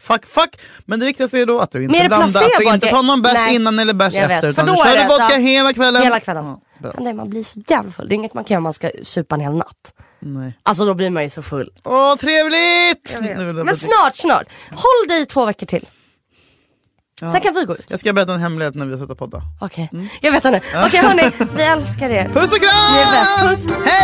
Speaker 2: Fuck, fuck. Men det viktigaste är då att du
Speaker 1: Men
Speaker 2: inte
Speaker 1: är det
Speaker 2: blandar, att
Speaker 1: placebo?
Speaker 2: du inte tar någon bärs
Speaker 1: Nej.
Speaker 2: innan eller bärs
Speaker 1: Jag vet,
Speaker 2: efter.
Speaker 1: för
Speaker 2: Utan
Speaker 1: då
Speaker 2: du
Speaker 1: är
Speaker 2: körde
Speaker 1: det-
Speaker 2: vodka
Speaker 1: ja.
Speaker 2: hela kvällen.
Speaker 1: Hela kvällen.
Speaker 2: Ja, bra.
Speaker 1: Men det, man blir så jävla full. Det är inget man kan göra om man ska supa en hel natt.
Speaker 2: Nej.
Speaker 1: Alltså då blir man ju så full.
Speaker 2: Åh, trevligt! Nu vill jag
Speaker 1: Men
Speaker 2: berätta-
Speaker 1: snart, snart. Håll dig i två veckor till.
Speaker 2: Ja. Mm.
Speaker 1: Sen kan vi gå ut.
Speaker 2: Jag ska berätta en hemlighet när vi slutar podda.
Speaker 1: Okej, jag vet inte. Okej hörni, vi älskar er.
Speaker 2: Puss och kram!
Speaker 1: Ni är bäst. Puss.
Speaker 2: Hej!